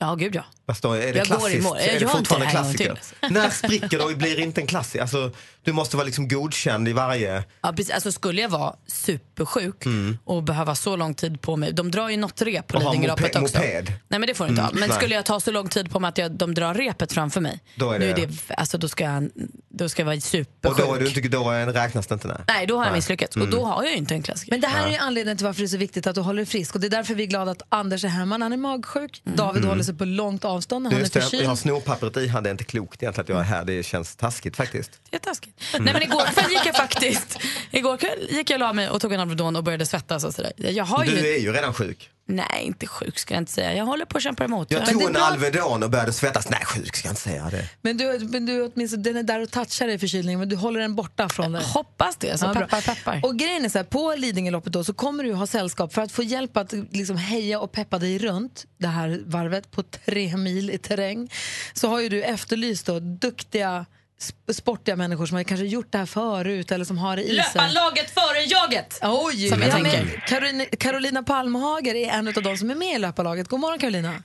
[SPEAKER 4] Ja, gud ja.
[SPEAKER 16] Fast då är det
[SPEAKER 4] Jag går i
[SPEAKER 16] klassiskt?
[SPEAKER 4] mål. Jag
[SPEAKER 16] är
[SPEAKER 4] gör
[SPEAKER 16] det
[SPEAKER 4] inte
[SPEAKER 16] fortfarande
[SPEAKER 4] det här en gång
[SPEAKER 16] klassiker? När spricker det och blir inte en klassiker? Alltså, du måste vara liksom godkänd i varje...
[SPEAKER 4] ja precis. Alltså, skulle jag vara supersjuk
[SPEAKER 16] Mm.
[SPEAKER 4] och behöva så lång tid på mig. De drar ju något rep på
[SPEAKER 16] Och ha
[SPEAKER 4] Lidingöloppet
[SPEAKER 16] mope-
[SPEAKER 4] också.
[SPEAKER 16] moped.
[SPEAKER 4] Nej men det får du inte
[SPEAKER 16] Mm,
[SPEAKER 4] ha. Men
[SPEAKER 16] nej.
[SPEAKER 4] skulle jag ta så lång tid på mig att jag, de drar repet framför mig.
[SPEAKER 16] Då är
[SPEAKER 4] nu
[SPEAKER 16] det-
[SPEAKER 4] alltså, då, ska jag, då ska jag vara
[SPEAKER 16] Och
[SPEAKER 4] supersjuk.
[SPEAKER 16] då, är du inte, då är- räknas det inte? Nej, Mm.
[SPEAKER 4] Nej då har jag misslyckats och då har jag ju inte en klassiker.
[SPEAKER 2] Men det här är ju
[SPEAKER 4] Nej.
[SPEAKER 2] anledningen till varför det är så viktigt att du håller dig frisk. Och det är därför vi är glada att Anders är hemma när han är magsjuk. David
[SPEAKER 16] Mm.
[SPEAKER 2] håller sig på långt avstånd när han är
[SPEAKER 16] Just det,
[SPEAKER 2] förkyld.
[SPEAKER 16] jag har snorpappret i hand. Det är inte klokt egentligen att jag är här. Det känns taskigt faktiskt.
[SPEAKER 4] Det är taskigt.
[SPEAKER 2] Mm.
[SPEAKER 4] Nej men igår kväll gick jag faktiskt, igår kväll gick jag och la mig och tog en Alvedon och började svettas och sådär. Jag har ju,
[SPEAKER 16] Du är ju redan sjuk.
[SPEAKER 4] nej inte sjuk ska jag inte säga, jag håller på att kämpa emot.
[SPEAKER 16] Jag
[SPEAKER 4] Men det
[SPEAKER 16] tog
[SPEAKER 4] är
[SPEAKER 16] en
[SPEAKER 4] bra-
[SPEAKER 16] Alvedon och började svettas. Nej, sjuk ska jag inte säga det.
[SPEAKER 2] Men du, men du åtminstone, den är där och touchar dig i förkylningen men du håller den borta från dig.
[SPEAKER 4] Hoppas det, så
[SPEAKER 2] bra.
[SPEAKER 4] peppar, peppar.
[SPEAKER 2] Och grejen är så här, på Lidingöloppet då så kommer du ha sällskap för att få hjälp att liksom heja och peppa dig runt det här varvet på tre mil i terräng så har ju du efterlyst då duktiga sp- sportiga människor som har kanske gjort det här förut eller som har det i sig.
[SPEAKER 4] Löparlaget före jaget!
[SPEAKER 2] Oj,
[SPEAKER 4] som
[SPEAKER 2] vi
[SPEAKER 4] jag
[SPEAKER 2] har
[SPEAKER 4] tänker.
[SPEAKER 2] med Karolina, Karolina Palmhager är en av de som är med i löparlaget. God morgon Karolina.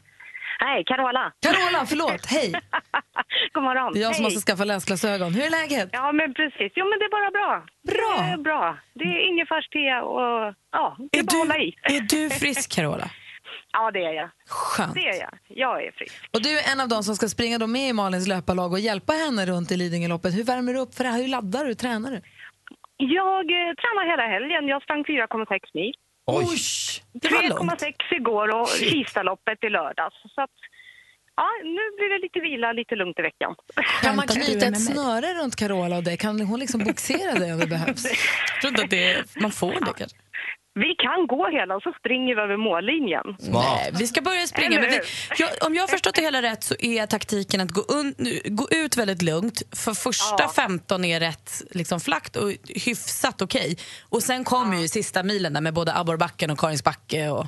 [SPEAKER 17] Hej, Carola.
[SPEAKER 2] Carola, förlåt. Hej.
[SPEAKER 17] God morgon.
[SPEAKER 2] Det är jag som
[SPEAKER 17] Hej.
[SPEAKER 2] måste skaffa läsglasögon. Hur är läget?
[SPEAKER 17] Ja, men precis. Jo, men det är bara bra. Bra. Det är bra. Det är ingefärste och ja, det är, bara att hålla i.
[SPEAKER 4] Är du frisk Carola?
[SPEAKER 17] Ja, det är jag.
[SPEAKER 2] Skönt.
[SPEAKER 17] Det är jag. Jag är frisk.
[SPEAKER 2] Och du är en av de som ska springa då med i Malins löparlag och hjälpa henne runt i Lidingöloppet. Hur värmer du upp för det här? Hur laddar du? Tränar du?
[SPEAKER 17] Jag eh, tränar hela helgen. Jag sprang 4,6 mil.
[SPEAKER 16] Oj!
[SPEAKER 17] 3,6 igår och
[SPEAKER 16] Shit.
[SPEAKER 17] Kistaloppet i lördags. Så att, ja, nu blir det lite vila, lite lugnt i veckan.
[SPEAKER 2] Kan man knyta ett snöre runt Carola och dig? Kan hon liksom boxera dig om det behövs?
[SPEAKER 4] Jag tror inte att det, man får det kanske.
[SPEAKER 17] Vi kan gå hela och så springer vi över mållinjen.
[SPEAKER 4] Nej, vi ska börja springa.
[SPEAKER 17] Eller
[SPEAKER 4] Men vi,
[SPEAKER 17] hur?
[SPEAKER 4] jag, om jag har förstått det hela rätt så är taktiken att gå, un, nu- gå ut väldigt lugnt. För första 15 är rätt liksom, flackt och hyfsat okej. Och sen kommer ju sista milen där med både abborrbacken och Karinsbacke. Och,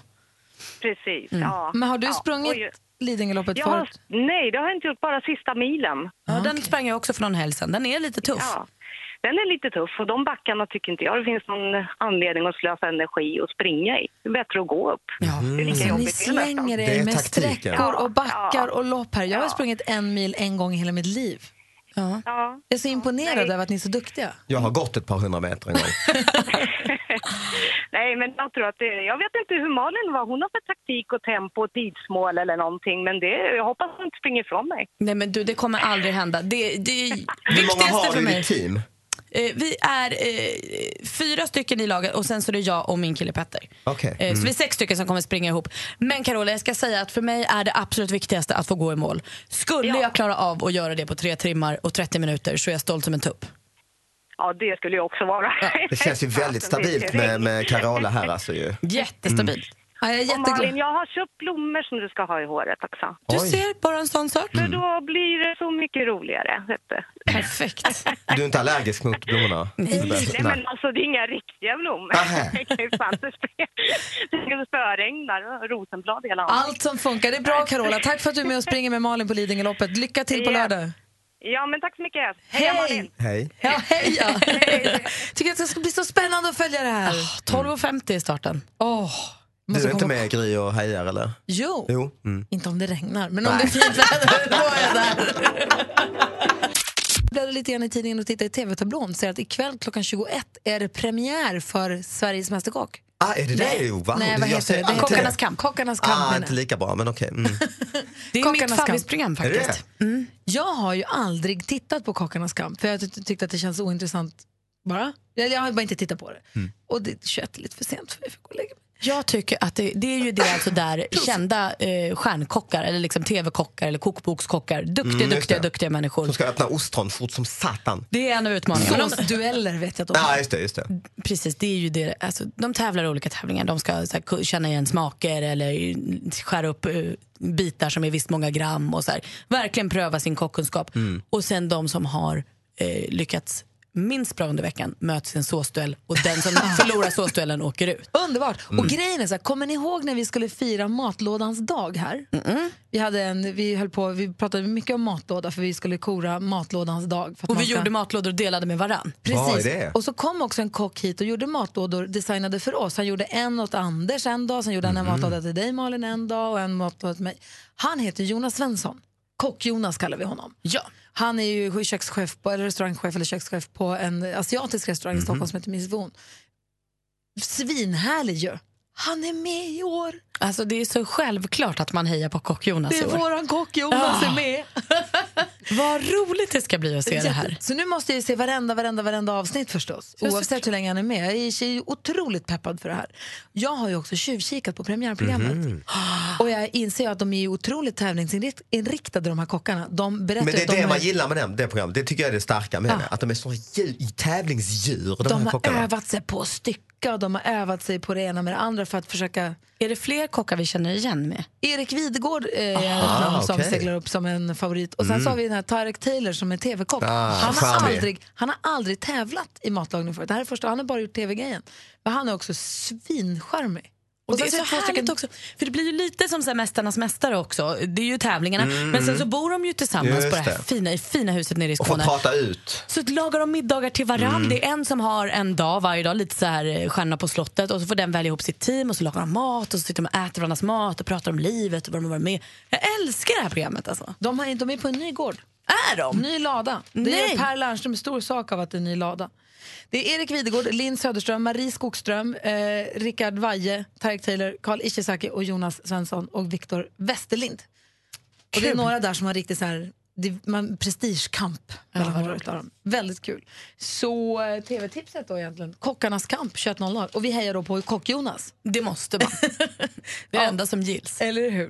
[SPEAKER 17] Precis.
[SPEAKER 4] Mm.
[SPEAKER 17] Ja.
[SPEAKER 2] Men har du
[SPEAKER 17] ja.
[SPEAKER 2] sprungit
[SPEAKER 17] Oj.
[SPEAKER 2] Lidingöloppet
[SPEAKER 17] Jag har,
[SPEAKER 2] förut?
[SPEAKER 17] nej, det har jag inte gjort. Bara sista milen.
[SPEAKER 2] Ah,
[SPEAKER 4] ja, den sprang jag också för någon helg sedan. Den är lite tuff.
[SPEAKER 17] Ja, den är lite tuff och de backarna tycker inte jag det finns någon anledning att slösa energi och springa i. Det är bättre att gå upp. Det är lika
[SPEAKER 2] Mm. Så ni
[SPEAKER 17] jobbigt det nästan.
[SPEAKER 2] slänger er med sträckor och backar och lopp här. Jag har sprungit en mil en gång i hela mitt liv. Ja. Jag är så imponerad över att ni är så duktiga.
[SPEAKER 16] Jag har gått ett par hundra meter en gång.
[SPEAKER 17] Nej, men jag tror att det, jag vet inte hur Malin var. Hon har för taktik och tempo och tidsmål eller någonting, men det, jag hoppas hon inte springer ifrån mig.
[SPEAKER 4] Nej men du, det kommer aldrig hända. Det, det
[SPEAKER 16] Hur många
[SPEAKER 4] viktigaste
[SPEAKER 16] har
[SPEAKER 4] för
[SPEAKER 16] du i
[SPEAKER 4] mig...
[SPEAKER 16] ditt team?
[SPEAKER 4] Eh, vi är eh, fyra stycken i laget och sen så är det jag och min kille Petter.
[SPEAKER 16] Okej.
[SPEAKER 4] Eh, Så vi är
[SPEAKER 16] Mm.
[SPEAKER 4] sex stycken som kommer springa ihop. Men Carola, jag ska säga att för mig är det absolut viktigaste att få gå i mål. Skulle jag klara av att göra det på tre timmar och 30 minuter så är jag stolt som en tupp.
[SPEAKER 17] Ja, det skulle jag också vara.
[SPEAKER 16] Det känns ju väldigt stabilt med, med Carola här alltså ju.
[SPEAKER 4] Jättestabilt.
[SPEAKER 2] jag
[SPEAKER 17] och Malin, jag har köpt blommor som du ska ha i håret också.
[SPEAKER 4] Mm.
[SPEAKER 16] Du Oj.
[SPEAKER 4] ser, bara en sån sak.
[SPEAKER 5] Mm.
[SPEAKER 17] För då blir det så mycket roligare. Vet du.
[SPEAKER 4] Perfekt.
[SPEAKER 16] Du är inte allergisk mot blommorna?
[SPEAKER 17] Nej, men alltså det är inga riktiga blommor.
[SPEAKER 16] Nähä.
[SPEAKER 17] Det kan ju fan inte spela. Det kan spöregna och rosenblad i hela handen.
[SPEAKER 2] Allt som funkar. Det är bra Carola. Tack för att du är med och springer med Malin på Lidingöloppet. Lycka till på
[SPEAKER 17] Ja.
[SPEAKER 2] lördag.
[SPEAKER 17] Ja, men tack så mycket. Hej, Malin!
[SPEAKER 16] Hej.
[SPEAKER 2] Ja, hej ja. Tycker att det ska bli så spännande att följa det här.
[SPEAKER 4] Ah, 12.50 är starten.
[SPEAKER 2] Åh,
[SPEAKER 16] Du är inte med Gry och hejar eller?
[SPEAKER 2] Jo.
[SPEAKER 16] Jo. Mm.
[SPEAKER 2] Inte om det regnar, men om det är fint väder då är jag där. Jag bläddrade lite grann i tidningen och tittade i tv-tablån och ser att ikväll klockan 21 är det premiär för Sveriges Mästerkock.
[SPEAKER 16] Ah, är det
[SPEAKER 2] Nej.
[SPEAKER 16] det? Jo, wow.
[SPEAKER 2] Nej,
[SPEAKER 16] Det-
[SPEAKER 2] vad
[SPEAKER 16] jag
[SPEAKER 2] heter
[SPEAKER 16] ser
[SPEAKER 2] det? Det är
[SPEAKER 16] alltid
[SPEAKER 2] Kockarnas kamp. Kockarnas kamp,
[SPEAKER 16] Ah,
[SPEAKER 2] menar
[SPEAKER 16] inte lika bra men okej. Mm.
[SPEAKER 4] Det är mitt favoritprogram
[SPEAKER 16] Är det
[SPEAKER 4] faktiskt.
[SPEAKER 2] Mm. Jag har ju aldrig tittat på Kockarnas kamp för jag ty- tyckte att det
[SPEAKER 16] Mm.
[SPEAKER 2] känns ointressant bara. Jag, jag har bara inte tittat på det. Och det, 21 är lite för sent för mig för att gå och lägga mig.
[SPEAKER 4] Jag tycker att det, det är ju det alltså där kända eh, stjärnkockar eller liksom tv-kockar eller kokbokskockar, duktiga,
[SPEAKER 16] Mm, just
[SPEAKER 4] duktiga,
[SPEAKER 16] det.
[SPEAKER 4] duktiga människor.
[SPEAKER 16] Som ska öppna ostron fort som satan.
[SPEAKER 4] Det är en av utmaningarna. Men de-
[SPEAKER 2] Såsdueller vet jag att de
[SPEAKER 16] Ja, just det, just det.
[SPEAKER 4] Precis, det är ju det. Alltså, de tävlar i olika tävlingar. De ska så här, ku- känna igen smaker eller skära upp eh, bitar som är visst många gram. Och, så här. Verkligen pröva sin kockkunskap.
[SPEAKER 16] Mm.
[SPEAKER 4] Och sen de som har eh, lyckats minst bra under veckan möts i en såsduell och den som förlorar såsduellen åker ut.
[SPEAKER 2] Underbart.
[SPEAKER 4] Mm.
[SPEAKER 2] Och grejen är så här, kommer ni ihåg när vi skulle fira matlådans dag här? Vi, hade en, vi, höll på, vi pratade mycket om matlåda för vi skulle kora matlådans dag. För att
[SPEAKER 4] Och
[SPEAKER 2] man
[SPEAKER 4] vi
[SPEAKER 2] ska-
[SPEAKER 4] gjorde matlådor och delade med varann.
[SPEAKER 2] Precis. Och så kom också en kock hit och gjorde matlådor designade för oss. Han gjorde en åt Anders en dag, sen gjorde han en
[SPEAKER 4] Mhm.
[SPEAKER 2] matlåda till dig Malin en dag och en matlåda till mig. Han heter Jonas Svensson. Kock-Jonas kallar vi honom.
[SPEAKER 4] Ja.
[SPEAKER 2] Han är ju kökschef på, eller restaurangchef eller kökschef på en asiatisk restaurang i
[SPEAKER 4] Mm-hmm.
[SPEAKER 2] Stockholm som heter Misvon. Svinhärlig ju. Han är med i år.
[SPEAKER 4] Alltså det är så självklart att man hejar på kock-Jonas
[SPEAKER 2] Det är
[SPEAKER 4] i år.
[SPEAKER 2] våran kock Jonas
[SPEAKER 4] Ja.
[SPEAKER 2] är med.
[SPEAKER 4] Vad roligt det ska bli att se det här.
[SPEAKER 2] Så nu måste jag ju se varenda, varenda, varenda avsnitt förstås.
[SPEAKER 4] Ja,
[SPEAKER 2] Oavsett hur länge han är med. Jag är ju otroligt peppad för det här. Jag har ju också tjuvkikat på premiärprogrammet.
[SPEAKER 16] Mhm.
[SPEAKER 2] Och jag inser ju att de är ju otroligt tävlingsinriktade de här kockarna. De berättar
[SPEAKER 16] Men det
[SPEAKER 2] ju att
[SPEAKER 16] är
[SPEAKER 2] de
[SPEAKER 16] det man
[SPEAKER 2] har-
[SPEAKER 16] gillar med den, det programmet. Det tycker jag är det starka med
[SPEAKER 2] Ja.
[SPEAKER 16] det. Att de är såna djur, tävlingsdjur, de,
[SPEAKER 2] De,
[SPEAKER 16] här
[SPEAKER 2] har
[SPEAKER 16] kockarna.
[SPEAKER 2] övat sig på att stycka och de har övat sig på det ena med det andra för att försöka...
[SPEAKER 4] Är det fler kockar vi känner igen med?
[SPEAKER 2] Erik Videgård eh, är
[SPEAKER 4] Ah,
[SPEAKER 2] ett namn som
[SPEAKER 4] okej.
[SPEAKER 2] seglar upp som en favorit. Och sen
[SPEAKER 4] Mm.
[SPEAKER 2] så har vi den här Tarek Taylor som är tv-kock.
[SPEAKER 4] Ah,
[SPEAKER 2] han, har
[SPEAKER 4] charmig.
[SPEAKER 2] aldrig, han har aldrig tävlat i matlagning förut. Det här är första, han har bara gjort tv-grejen. Men han är också svinskärmig.
[SPEAKER 4] Och, det är så, härligt också, för det blir ju lite som så här Mästarnas mästare också. Det är ju tävlingarna.
[SPEAKER 16] Mm.
[SPEAKER 4] Men sen så bor de ju tillsammans
[SPEAKER 16] Just
[SPEAKER 4] på det här
[SPEAKER 16] det.
[SPEAKER 4] fina, i fina huset nere i
[SPEAKER 16] Och få
[SPEAKER 4] Skåne.
[SPEAKER 16] prata ut.
[SPEAKER 4] Så lagar de middagar till varandra.
[SPEAKER 16] Mm.
[SPEAKER 4] Det är en som har en dag varje dag, lite så här eh, stjärna på slottet. Och så får den välja ihop sitt team och så lagar de mat och så sitter de och äter varandras mat och pratar om livet och vad de har varit med Jag älskar det här programmet alltså.
[SPEAKER 2] De, har, de är på en ny gård.
[SPEAKER 4] Är de?
[SPEAKER 2] Ny lada. Det
[SPEAKER 4] Nej.
[SPEAKER 2] gör Per Lernström stor sak av att det är en ny lada. Det är Erik Videgård, Linn Söderström, Marie Skogström, eh, Rickard Vaje, Tarek Taylor, Karl Ishizaki och Jonas Svensson och Viktor Westerlind. Och det är
[SPEAKER 4] Kul.
[SPEAKER 2] några där som har riktigt så här, det, man, prestigekamp mellan några utav dem. Väldigt kul. Så eh, tv-tipset då egentligen, Kockarnas kamp 21.00 och vi hejar då på Kock-Jonas.
[SPEAKER 4] Det måste man. det är det enda som gills.
[SPEAKER 2] Eller hur?